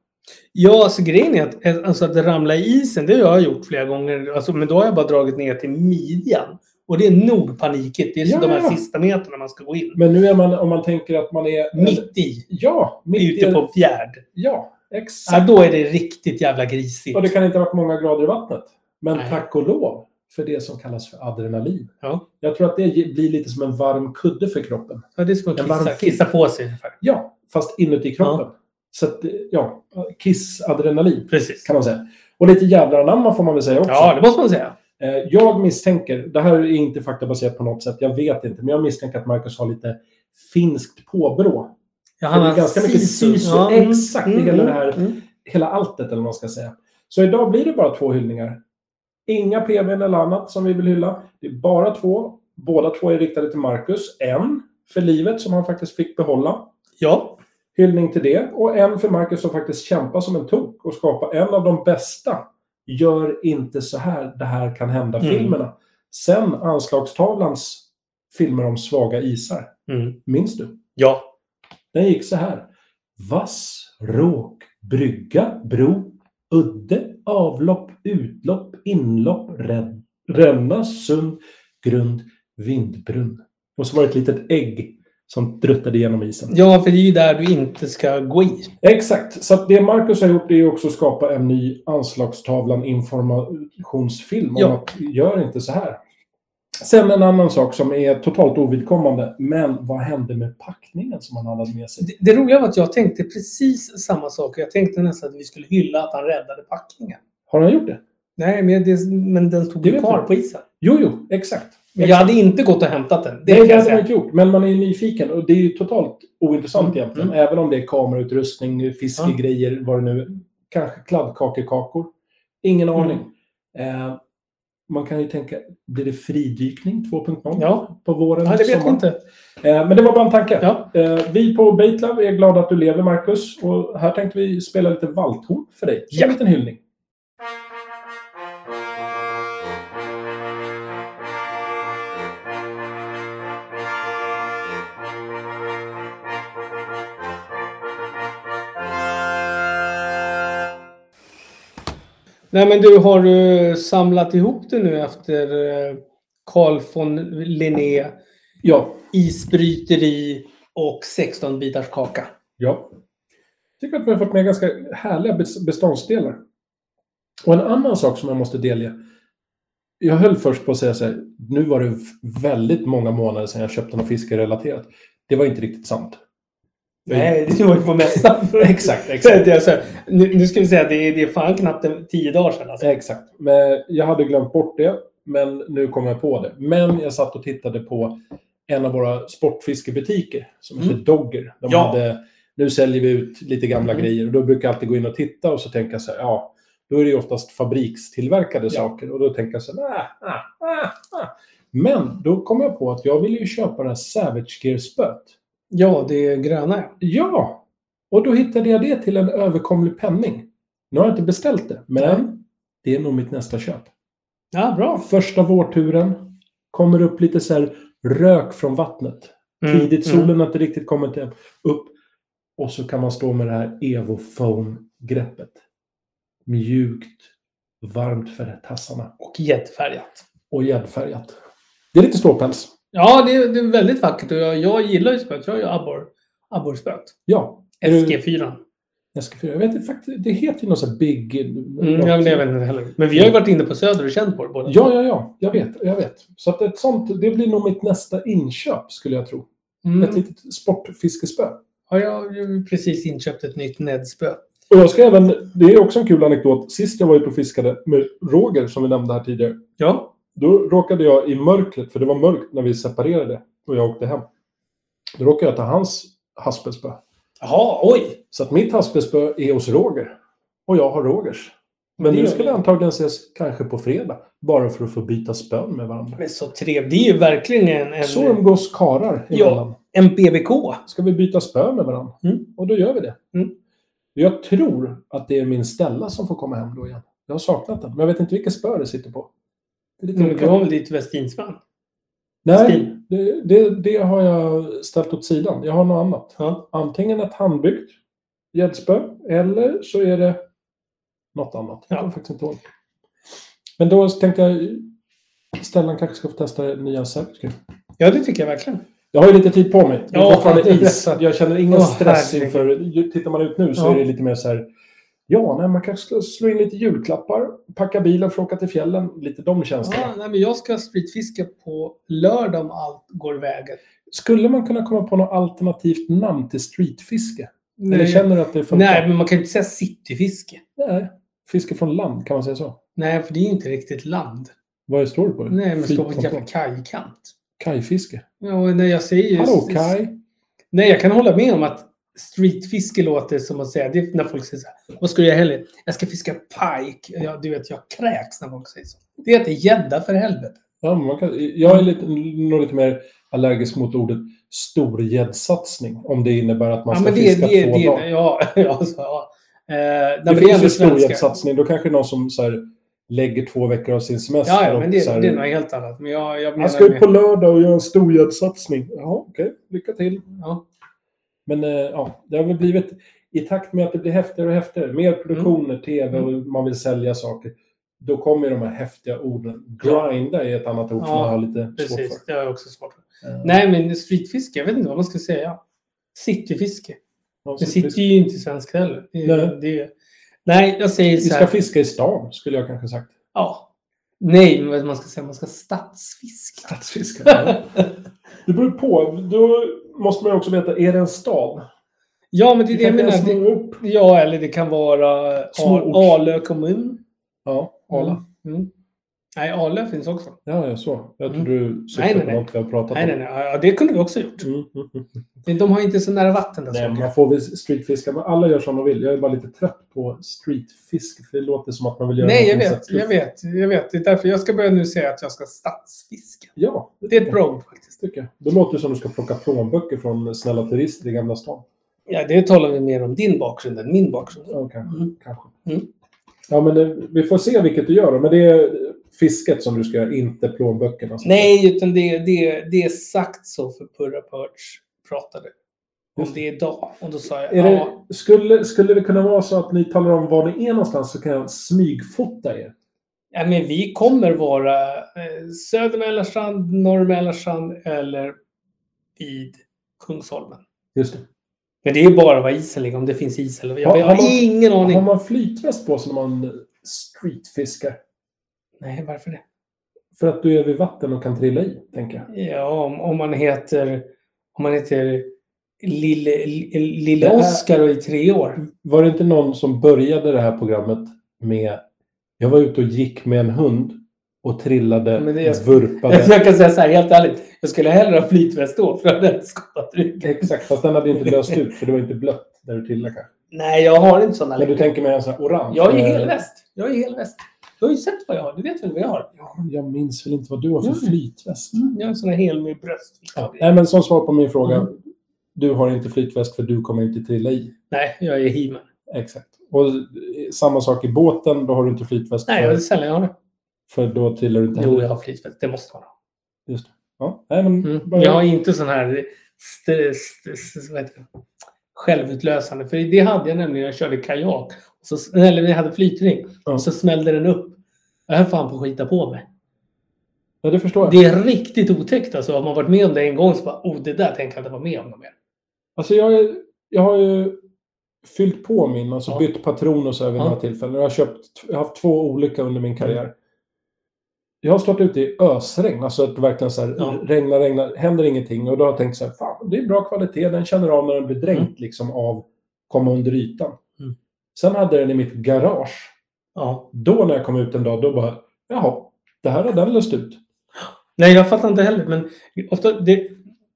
S3: Ja, alltså grejen är att, eh, alltså, att ramla i isen, det har jag gjort flera gånger. Alltså, men då har jag bara dragit ner till midjan. Och det är nog panikigt. Det är
S2: Ja,
S3: så de här
S2: ja.
S3: sista meterna man ska gå in.
S2: Men nu är man, om man tänker att man är...
S3: Mitt i.
S2: Ja, Alltså, mitt
S3: Ute
S2: i...
S3: på fjärd.
S2: Ja,
S3: Ja,
S2: exakt.
S3: då är det riktigt jävla grisigt.
S2: Och det kan inte ha varit många grader i vattnet. Men
S3: Nej.
S2: tack och lov för det som kallas för adrenalin.
S3: Ja.
S2: Jag tror att det ge- blir lite som en varm kudde för kroppen.
S3: Ja, det är som att
S2: En varm
S3: kissa,
S2: filt.
S3: kissa på sig ungefär.
S2: Ja, fast inuti kroppen. Så att, ja, kissadrenalin
S3: Precis.
S2: kan man säga. Och lite jävlar anamma får man väl säga också.
S3: Ja, det måste man säga.
S2: Eh, Jag misstänker, det här är inte faktabaserat på något sätt, jag vet inte, men jag misstänker att Marcus har lite finskt påbrå.
S3: Ja,
S2: Det är
S3: har
S2: ganska mycket
S3: sisu.
S2: sisu.
S3: mm,
S2: Exakt,
S3: mm,
S2: hela det
S3: mm,
S2: här.
S3: mm.
S2: Hela alltet, eller vad man ska säga. Så idag blir det bara två hyllningar. Inga PVn eller annat som vi vill hylla. Det är bara två. Båda två är riktade till Marcus. En för livet som han faktiskt fick behålla.
S3: Ja,
S2: Hyllning till det. Och en för Marcus som faktiskt kämpar som en tok och skapar en av de bästa. Gör inte så här, det här kan hända-filmerna. Sen anslagstavlans filmer om svaga isar.
S3: mm.
S2: Minns du?
S3: ja.
S2: Den gick så här. Vass, råk, brygga, bro, udde, avlopp, utlopp, inlopp, rän- ränna, sund, grund, vindbrunn. Och så var det ett litet ägg som druttade genom isen.
S3: ja, för det är ju där du inte ska gå i.
S2: Exakt. Så att det Marcus har gjort är ju också att skapa en ny anslagstavlan informationsfilm. Om
S3: Ja.
S2: att gör inte så här. Sen en annan sak som är totalt ovidkommande. Men vad hände med packningen som han hade med sig?
S3: Det, det roliga var att jag tänkte precis samma sak. Jag tänkte nästan att vi skulle hylla att han räddade packningen.
S2: Har han gjort det?
S3: Nej, men, det, men den stod
S2: Det
S3: ju
S2: vet
S3: kvar
S2: du.
S3: på isen.
S2: Jo, jo, exakt.
S3: Men jag hade inte gått och hämtat den.
S2: Det,
S3: kan
S2: det hade
S3: jag
S2: man
S3: säga.
S2: inte gjort, men man är ju nyfiken. Och det är ju totalt ointressant
S3: Mm,
S2: egentligen. Även om det är kamerautrustning, fiskegrejer, vad det nu är. Kanske kladdkakekakor. Ingen
S3: Mm.
S2: aning. Eh, man kan ju tänka, blir det fridykning 2.0
S3: Ja.
S2: på våren?
S3: Ja, det vet jag
S2: sommaren?
S3: inte.
S2: Eh, men det var bara en tanke.
S3: Ja.
S2: Eh, vi på Baitlab är glada att du lever, Marcus. Och här tänkte vi spela lite valthorn för dig. Som
S3: Ja.
S2: en liten hyllning.
S3: Nej, men du, har du eh, samlat ihop det nu efter eh, Carl von Linné,
S2: Ja.
S3: isbryteri och 16-bitars kaka?
S2: Ja. Jag tycker att vi har fått med ganska härliga bes- beståndsdelar. Och en annan sak som jag måste delge. Jag höll först på att säga så här, nu var det v- väldigt många månader sedan jag köpte något fiskerelaterat. Det var inte riktigt sant.
S3: Nej, det var ju på mässan.
S2: Exakt,
S3: Så
S2: exakt.
S3: att jag, så här, nu, nu ska vi säga att det är, det är fan knappt en- tio dagar sedan. Alltså.
S2: Exakt. Men jag hade glömt bort det, men nu kommer jag på det. Men jag satt och tittade på en av våra sportfiskebutiker som heter
S3: Mm.
S2: Dogger. De
S3: Ja.
S2: hade, nu säljer vi ut lite gamla
S3: Mm.
S2: grejer och då brukar jag alltid gå in och titta och så tänker jag så här, ja, då är det ju oftast fabrikstillverkade saker och då tänker jag så här, "Ah, nej, nej, nej, nej. ah." Men då kom jag på att jag ville ju köpa det här Savage Gear-spöet.
S3: Ja, det är gröna ja.
S2: Ja, och då hittade jag det till en överkomlig penning. Nu har jag inte beställt det, men det är nog mitt nästa köp.
S3: Ja, bra.
S2: Första vårturen. Kommer upp lite så här rök från vattnet.
S3: Mm,
S2: Tidigt, solen har inte riktigt kommit upp. Och så kan man stå med det här Evofoam-greppet. Mjukt, varmt för tassarna
S3: Och jättefärgat.
S2: och gäddfärgat. Det är lite ståpäls.
S3: Ja, det är, det är väldigt vackert och jag, jag gillar ju spöet. Jag har ju abbor- abborrspöet.
S2: Ja. Är du-
S3: SG4.
S2: SG4. Jag vet inte, faktiskt, det heter ju något så här Big...
S3: Mm, jag, jag vet inte heller. Men vi har ju varit inne på Söder och känt på det båda.
S2: Ja, ja, ja. Jag vet. Jag vet. Så att ett sånt, det blir nog mitt nästa inköp, skulle jag tro.
S3: mm.
S2: Ett litet sportfiskespö.
S3: Ja, jag har ju precis inköpt ett nytt Ned-spö.
S2: Och jag ska även, det är också en kul anekdot. Sist jag var ute och fiskade med Roger, som vi nämnde här tidigare,
S3: Ja.
S2: då råkade jag i mörkret, för det var mörkt när vi separerade och jag åkte hem. Då råkade jag ta hans haspelspö.
S3: Jaha, oj!
S2: Så att mitt haspelspö är hos Roger. Och jag har Rogers. Men
S3: Det
S2: nu
S3: gör
S2: ska
S3: vi.
S2: vi antagligen ses kanske på fredag. Bara för att få byta spön med varandra.
S3: Men så trevligt. Det är ju verkligen en, en,
S2: Så umgås karar
S3: Ja.
S2: emellan.
S3: en BBK.
S2: Ska vi byta spö med varandra?
S3: Mm.
S2: Och då gör vi det.
S3: Mm.
S2: Jag tror att det är min Stella som får komma hem då igen. Jag har saknat den, men jag vet inte vilka spö det sitter på. Det är lite
S3: Men
S2: olika.
S3: Du har väl ditt västinsband?
S2: Nej,
S3: Mm. Stil.
S2: det, det, det har jag ställt åt sidan. Jag har något annat.
S3: Ja.
S2: Antingen ett handbyggt gäddspö eller så är det något annat. Jag
S3: Ja.
S2: kommer faktiskt inte ihåg. Men då tänkte jag Stellan kanske ska få testa det nya Säverskrud.
S3: ja, det tycker jag verkligen.
S2: Jag har ju lite tid på mig. Det är
S3: Ja,
S2: fortfarande
S3: fan, det är
S2: is.
S3: rätt.
S2: Jag känner ingen
S3: Åh,
S2: stress
S3: herregud.
S2: inför... ju- Tittar man ut nu så
S3: Ja.
S2: är det lite mer så här... Ja, nej, man kanske ska slå in lite julklappar, packa bilen för att åka till fjällen. Lite de känslorna.
S3: Ja, nej, men jag ska streetfiska på lördag om allt går vägen.
S2: Skulle man kunna komma på något alternativt namn till streetfiske? Eller
S3: Nej,
S2: känner du att det funkar?
S3: nej, men man kan ju inte säga cityfiske.
S2: Nej. Fiske från land, kan man säga så?
S3: Nej, för det är ju inte riktigt land.
S2: Vad står det på?
S3: Nej, men står på en
S2: Flytkontroll.
S3: jävla kajkant.
S2: Kajfiske.
S3: Ja, och nej, jag säger ju...
S2: Hallå, kaj.
S3: Nej, jag kan hålla med om att streetfiske låter som att säga, det är när folk säger så här, vad ska jag göra i helgen? Jag ska fiska pike. Ja, du vet, jag kräks när folk säger så. Det heter gädda för helvete.
S2: Ja, men man kan, jag är lite, nog lite mer allergisk mot ordet storgäddsatsning. Om det innebär att man
S3: Ja,
S2: ska
S3: men det,
S2: fiska
S3: det,
S2: två
S3: det,
S2: dagar.
S3: ja, ja, så, ja. Eh, nej, men
S2: det
S3: är
S2: finns
S3: ändå
S2: ju
S3: svenska.
S2: storgäddsatsning. Då kanske någon som så här, lägger två veckor av sin semester.
S3: Ja, ja, men det,
S2: och så här,
S3: det är något helt annat. Men jag, jag menar
S2: Han ska ut
S3: med-
S2: på lördag och göra en storgäddsatsning. Ja, okej. Lycka till.
S3: ja.
S2: Men eh, ja, det har väl blivit i takt med att det blir häftigare och häftigare. Mer
S3: Mm.
S2: produktioner, tv och man vill sälja saker. Då kommer ju de här häftiga orden. Grinda är ett annat ord som
S3: Ja,
S2: jag har lite svårt
S3: Precis,
S2: för.
S3: det har jag också svårt för.
S2: Eh,
S3: Nej, men streetfiske, jag vet inte vad man ska säga. Cityfiske.
S2: ja,
S3: Det
S2: så
S3: sitter
S2: vi,
S3: ju inte i svenska heller. Det,
S2: Nej.
S3: nej. Det, nej, jag säger
S2: vi
S3: så
S2: ska
S3: här.
S2: fiska i stan, skulle jag kanske sagt.
S3: Ja. Nej, men vad man ska säga, man ska stadsfiska.
S2: Stadsfiska. ja. det beror på. Då måste man ju också veta, är det en stad?
S3: Ja, men det är det jag
S2: Kanske
S3: menar.
S2: en
S3: Det,
S2: små upp.
S3: ja, eller det kan vara
S2: Småort.
S3: Al- Alö kommun.
S2: Ja, Arla.
S3: Mm. Nej, Alö finns också.
S2: Ja, jag så. Jag tror du
S3: Mm. Nej,
S2: syftade
S3: nej,
S2: på
S3: nej.
S2: något vi har pratat
S3: Nej,
S2: om.
S3: nej, nej. Ja, det kunde vi också gjort.
S2: Mm, mm, mm.
S3: Men de har inte så nära vatten där.
S2: Nej,
S3: Nej,
S2: man får väl streetfiska. Men alla gör som de vill. Jag är bara lite trött på streetfiske. För det låter som att man vill göra
S3: nej jag
S2: någonting
S3: vet.
S2: så här-
S3: Jag vet. Jag vet. Det är därför jag ska börja nu säga att jag ska stadsfiska.
S2: Ja,
S3: Det är ett bra ord faktiskt.
S2: tycker jag. Det låter som att du ska plocka plånböcker från snälla turister i Gamla stan.
S3: Ja, det talar vi mer om din bakgrund än min bakgrund.
S2: Ja, kanske.
S3: Mm.
S2: kanske.
S3: Mm.
S2: Ja, men eh, vi får se vilket du gör. då. Men det är fisket som du ska göra, inte plånböckerna.
S3: Nej, utan det, det, det är sagt så för Purra Perch pratade om
S2: Just det.
S3: det idag. Och då sa jag,
S2: Är
S3: ja,
S2: det, skulle, skulle det kunna vara så att ni talar om var ni är någonstans så kan jag smygfota er?
S3: ja, men vi kommer vara eh, söder Mälarstrand, norr Mälarstrand eller vid Kungsholmen.
S2: Just det.
S3: Men det är bara vad isen ligger, om det finns is eller
S2: Har-
S3: Jag, jag
S2: har
S3: har
S2: man-
S3: ingen
S2: Har
S3: aning.
S2: man flytväst på sig när man streetfiskar?
S3: Nej, varför det?
S2: För att du är vid vatten och kan trilla i, tänker jag.
S3: Ja, om, om man heter, om man heter Lille,
S2: Det
S3: Lille
S2: här-
S3: Oscar och i tre år.
S2: Var det inte någon som började det här programmet med Jag var ute och gick med en hund och trillade,
S3: Men det är-
S2: vurpade.
S3: Jag kan säga så här helt ärligt. Jag skulle hellre ha flytväst då för att den skadat ryggen.
S2: Exakt, fast den hade inte löst ut för det var inte blött när du trillade kanske.
S3: Nej, jag har inte sådana
S2: Men du
S3: längre.
S2: tänker mig en sån här orange?
S3: Jag är
S2: eh,
S3: helväst. Jag är helväst. Du har ju sett vad jag har. Du vet väl vad jag har?
S2: Ja, men jag minns väl inte vad du har för
S3: Mm.
S2: flytväst?
S3: Jag har en sån här hel med bröst.
S2: Ja. Mm. Nej, men som svar på min fråga. Du har inte flytväst för du kommer inte trilla i.
S3: Nej, jag är he
S2: Exakt. Och eh, samma sak i båten, då har du inte flytväst
S3: Nej, jag
S2: för,
S3: är sällan jag har det.
S2: för då trillar du inte
S3: Jo,
S2: heller.
S3: jag har flytväst. Det måste man ha.
S2: Ja, nej, men
S3: Mm.
S2: bara-
S3: Jag har inte sån här st- st- st- vad heter det? självutlösande. För det hade jag nämligen när jag körde kajak. Så, eller när jag hade flytring.
S2: Ja.
S3: Och så smällde den upp. Jag höll fan på att skita på mig.
S2: ja, det förstår jag.
S3: Det är riktigt otäckt alltså. Har man varit med om det en gång så bara, oh det där tänker jag inte vara med om något mer.
S2: Alltså jag, är- jag har ju fyllt på min, alltså
S3: Ja.
S2: bytt patron och så här vid
S3: Ja. Mm.
S2: några tillfällen. Jag har, köpt, jag har haft två olika under min karriär. Jag har stått ute i ösregn, alltså att det verkligen så här,
S3: Ja.
S2: regnar, regnar, händer ingenting. Och då har jag tänkt så här, fan det är bra kvalitet, den känner av när den blir dränkt liksom av, komma under ytan.
S3: Mm.
S2: Sen hade jag den i mitt garage.
S3: Ja.
S2: Då när jag kom ut en dag, då bara, jaha, det här har den löst ut.
S3: Nej, jag fattar inte heller. Men ofta, det,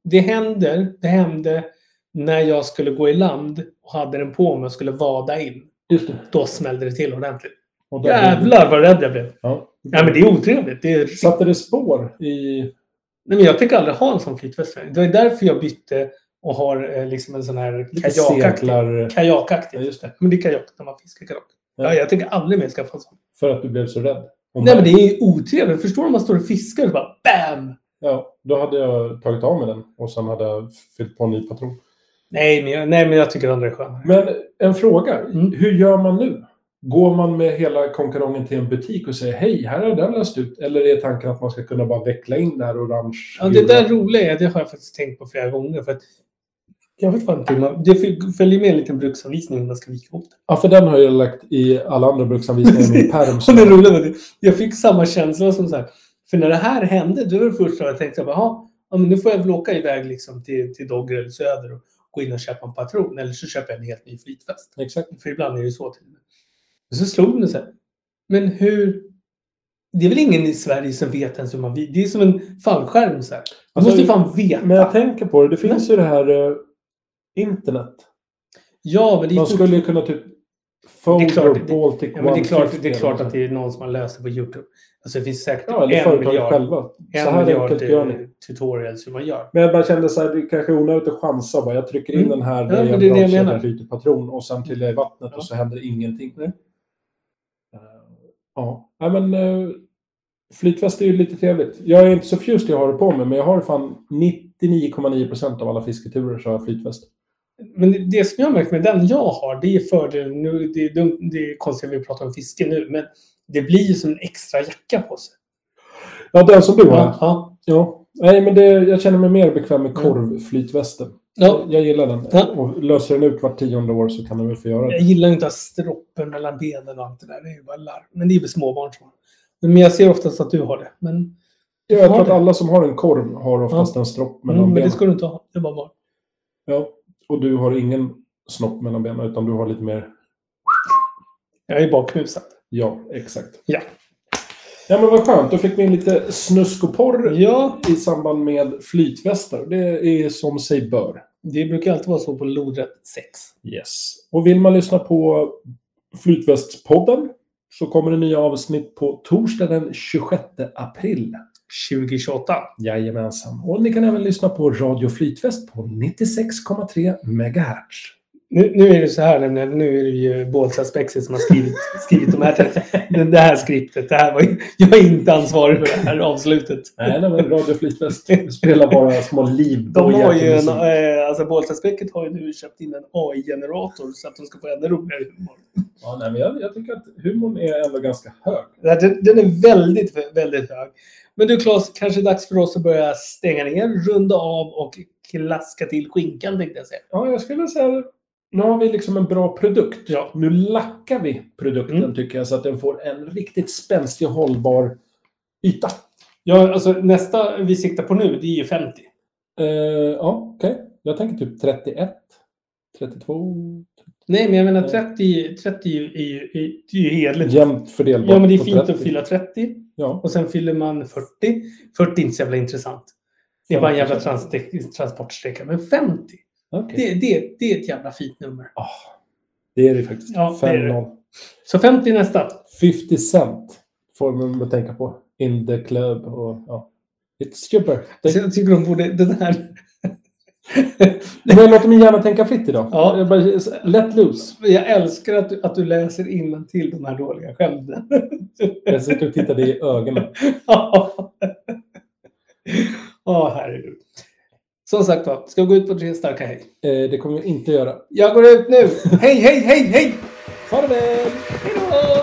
S3: det händer, det hände när jag skulle gå i land och hade den på mig och skulle vada in.
S2: Just det.
S3: Då smällde det till ordentligt.
S2: Och där-
S3: Jävlar vad rädd jag blev.
S2: Ja.
S3: Nej men det är otrevligt. Det är...
S2: Satte det spår i...
S3: Nej, men jag tänker aldrig ha en sån flytväst. Det är därför jag bytte och har eh, liksom en sån här
S2: Lite
S3: kajakaktig.
S2: seglar...
S3: Kajakaktig.
S2: Ja, just det.
S3: Men det är kajak när man fiskar kajak. Ja, jag tänker aldrig mer skaffa en sån.
S2: För att du blev så rädd. Och
S3: Nej men det är ju otrevligt. Förstår du om man står och fiskar och så bara BAM!
S2: Ja, då hade jag tagit av mig den och sen hade jag fyllt på en ny patron.
S3: Nej men jag, nej, men jag tycker andra är skönare.
S2: Men en fråga.
S3: Mm.
S2: Hur gör man nu? Går man med hela konkarongen till en butik och säger hej, här har den löst ut? Eller är tanken att man ska kunna bara veckla in det här orange?
S3: Ja, det där roliga är, det har jag faktiskt tänkt på flera gånger. För att, jag vet fan inte hur man... Det fyl- följer med en liten bruksanvisning hur man ska vika ihop det.
S2: Ja, för den har jag lagt i alla andra bruksanvisningar i min pärm.
S3: Och det roliga var det, jag fick samma känsla som så här. För när det här hände, det var det första jag tänkte, jaha, ja, men nu får jag väl åka iväg liksom till, till Dogger eller Söder och gå in och köpa en patron. Eller så köper jag en helt ny flytväst.
S2: Exakt.
S3: För ibland är det ju så till och med. Och så slog det mig så här. Men hur... Det är väl ingen i Sverige som vet ens hur man... vi- Det är som en fallskärm så här. Man
S2: Alltså,
S3: måste ju fan veta.
S2: Men jag tänker på det, det finns ju det här eh, internet.
S3: ja, men det är
S2: Man
S3: fort-
S2: skulle ju kunna typ... Folder
S3: Det är klart- det-
S2: Baltic
S3: ja, men det, är klart,
S2: 150
S3: det är klart
S2: eller
S3: att det är någon som har löst det på YouTube. Alltså det finns säkert
S2: Ja, eller
S3: en
S2: företaget
S3: miljard,
S2: själva. Så
S3: en
S2: här enkelt gör ni.
S3: miljard eh, tutorials hur man gör.
S2: Men jag bara kände så här, det kanske är onödigt att chansa. Bara, jag trycker in
S3: Mm.
S2: den här
S3: Ja, men
S2: ja,
S3: det är det jag
S2: jag
S3: menar.
S2: byter patron och sen till i vattnet
S3: Ja.
S2: och så händer ingenting.
S3: Nej.
S2: Eh, Ja, Nej, men eh, flytväst är ju lite trevligt. Jag är inte så förtjust i att ha det på mig, men jag har fan 99,9% av alla fisketurer så har jag flytväst.
S3: Men det- det som jag märkt med den jag har, det är fördelen nu. Det är, dumt, det är konstigt att vi pratar om fiske nu, men det blir ju som en extra jacka på sig.
S2: Ja, den som du har.
S3: Ja, ja.
S2: Ja. Nej, men det, jag känner mig mer bekväm med
S3: Mm.
S2: korvflytvästen.
S3: ja.
S2: Jag gillar den.
S3: Ja.
S2: Och löser den ut vart tionde år så kan den väl få göra det.
S3: Jag gillar ju inte att ha stroppen mellan benen och allt det där. Det är ju bara larv. Men det är väl småbarn som har det. Men jag ser oftast att du har det. Men,
S2: Ja, jag
S3: Har
S2: tror att
S3: det.
S2: alla som har en korv har oftast en stropp mellan
S3: mm, men det
S2: benen.
S3: ska du inte ha. Det är bara barn.
S2: Ja, och du har ingen snopp mellan benen utan du har lite mer...
S3: Jag är bakknusad.
S2: Ja, exakt.
S3: Ja.
S2: Ja, men vad skönt. Då fick vi in lite snusk och porr
S3: Ja,
S2: i samband med flytvästar. Det är som sig bör.
S3: det brukar alltid vara så på lodrätt sex.
S2: Yes. Och vill man lyssna på Flytvästpodden så kommer det nya avsnitt på torsdag den 26 april.
S3: 2028.
S2: Jajamensan. Och ni kan även lyssna på Radio Flytväst på 96,3 MHz.
S3: Nu, nu är det så här nämligen, nu är det ju Bålsta-spexet som har skrivit, skrivit de här, te- det, det här skriptet. Det här var, ju- jag är inte ansvarig för det här avslutet.
S2: Nej, nej men Radio Flytväst spelar bara små
S3: De
S2: livbojar
S3: har ju
S2: till
S3: en,
S2: musik.
S3: eh, alltså Bålsta-specket har ju nu köpt in en AI-generator så att de ska få ännu roligare humor.
S2: Ja, nej, men jag, jag tycker att humorn är ändå ganska hög.
S3: Den, här- den är väldigt, väldigt hög. Men du Claes, kanske är dags för oss att börja stänga ner, runda av och klaska till skinkan tänkte jag säga.
S2: Ja, jag skulle säga det. Nu har vi liksom en bra produkt. Ja. Nu lackar vi produkten
S3: Mm.
S2: tycker jag så att den får en riktigt spänstig och hållbar yta.
S3: Ja, alltså nästa vi siktar på nu, det är ju 50.
S2: Eh, ja, okej. Jag tänker typ 31, 32.
S3: Nej, men jag menar
S2: Ja.
S3: 30, 30 är, ju- är, ju- är, det är ju hederligt. Ja,
S2: Jämnt fördelbart.
S3: men det är
S2: på
S3: fint
S2: 30.
S3: att fylla 30
S2: Ja.
S3: och sen fyller man 40. 40 är inte så jävla intressant. Det är bara en jävla trans transportsträcka. Men 50,
S2: Okej.
S3: det, det, det är ett jävla fint nummer.
S2: Ah, det är det faktiskt.
S3: Ja, det är det.
S2: 5-0.
S3: Så 50 är nästa.
S2: 50 Cent får man att tänka på. In the club och ja. It's your
S3: Så
S2: birthday.
S3: jag tycker de borde, den här...
S2: Men låt min hjärna tänka fritt idag.
S3: Ja.
S2: Jag bara, let loose.
S3: Jag älskar att du, att du läser innantill till de här dåliga skämten.
S2: Jag sitter och tittar dig i ögonen.
S3: Ja, oh, herregud. Som sagt var, ska vi gå ut på tre starka hej?
S2: Eh, det kommer vi inte göra.
S3: Jag går ut nu. Hej, hej, hej, hej!
S2: Farväl!
S3: Hej då!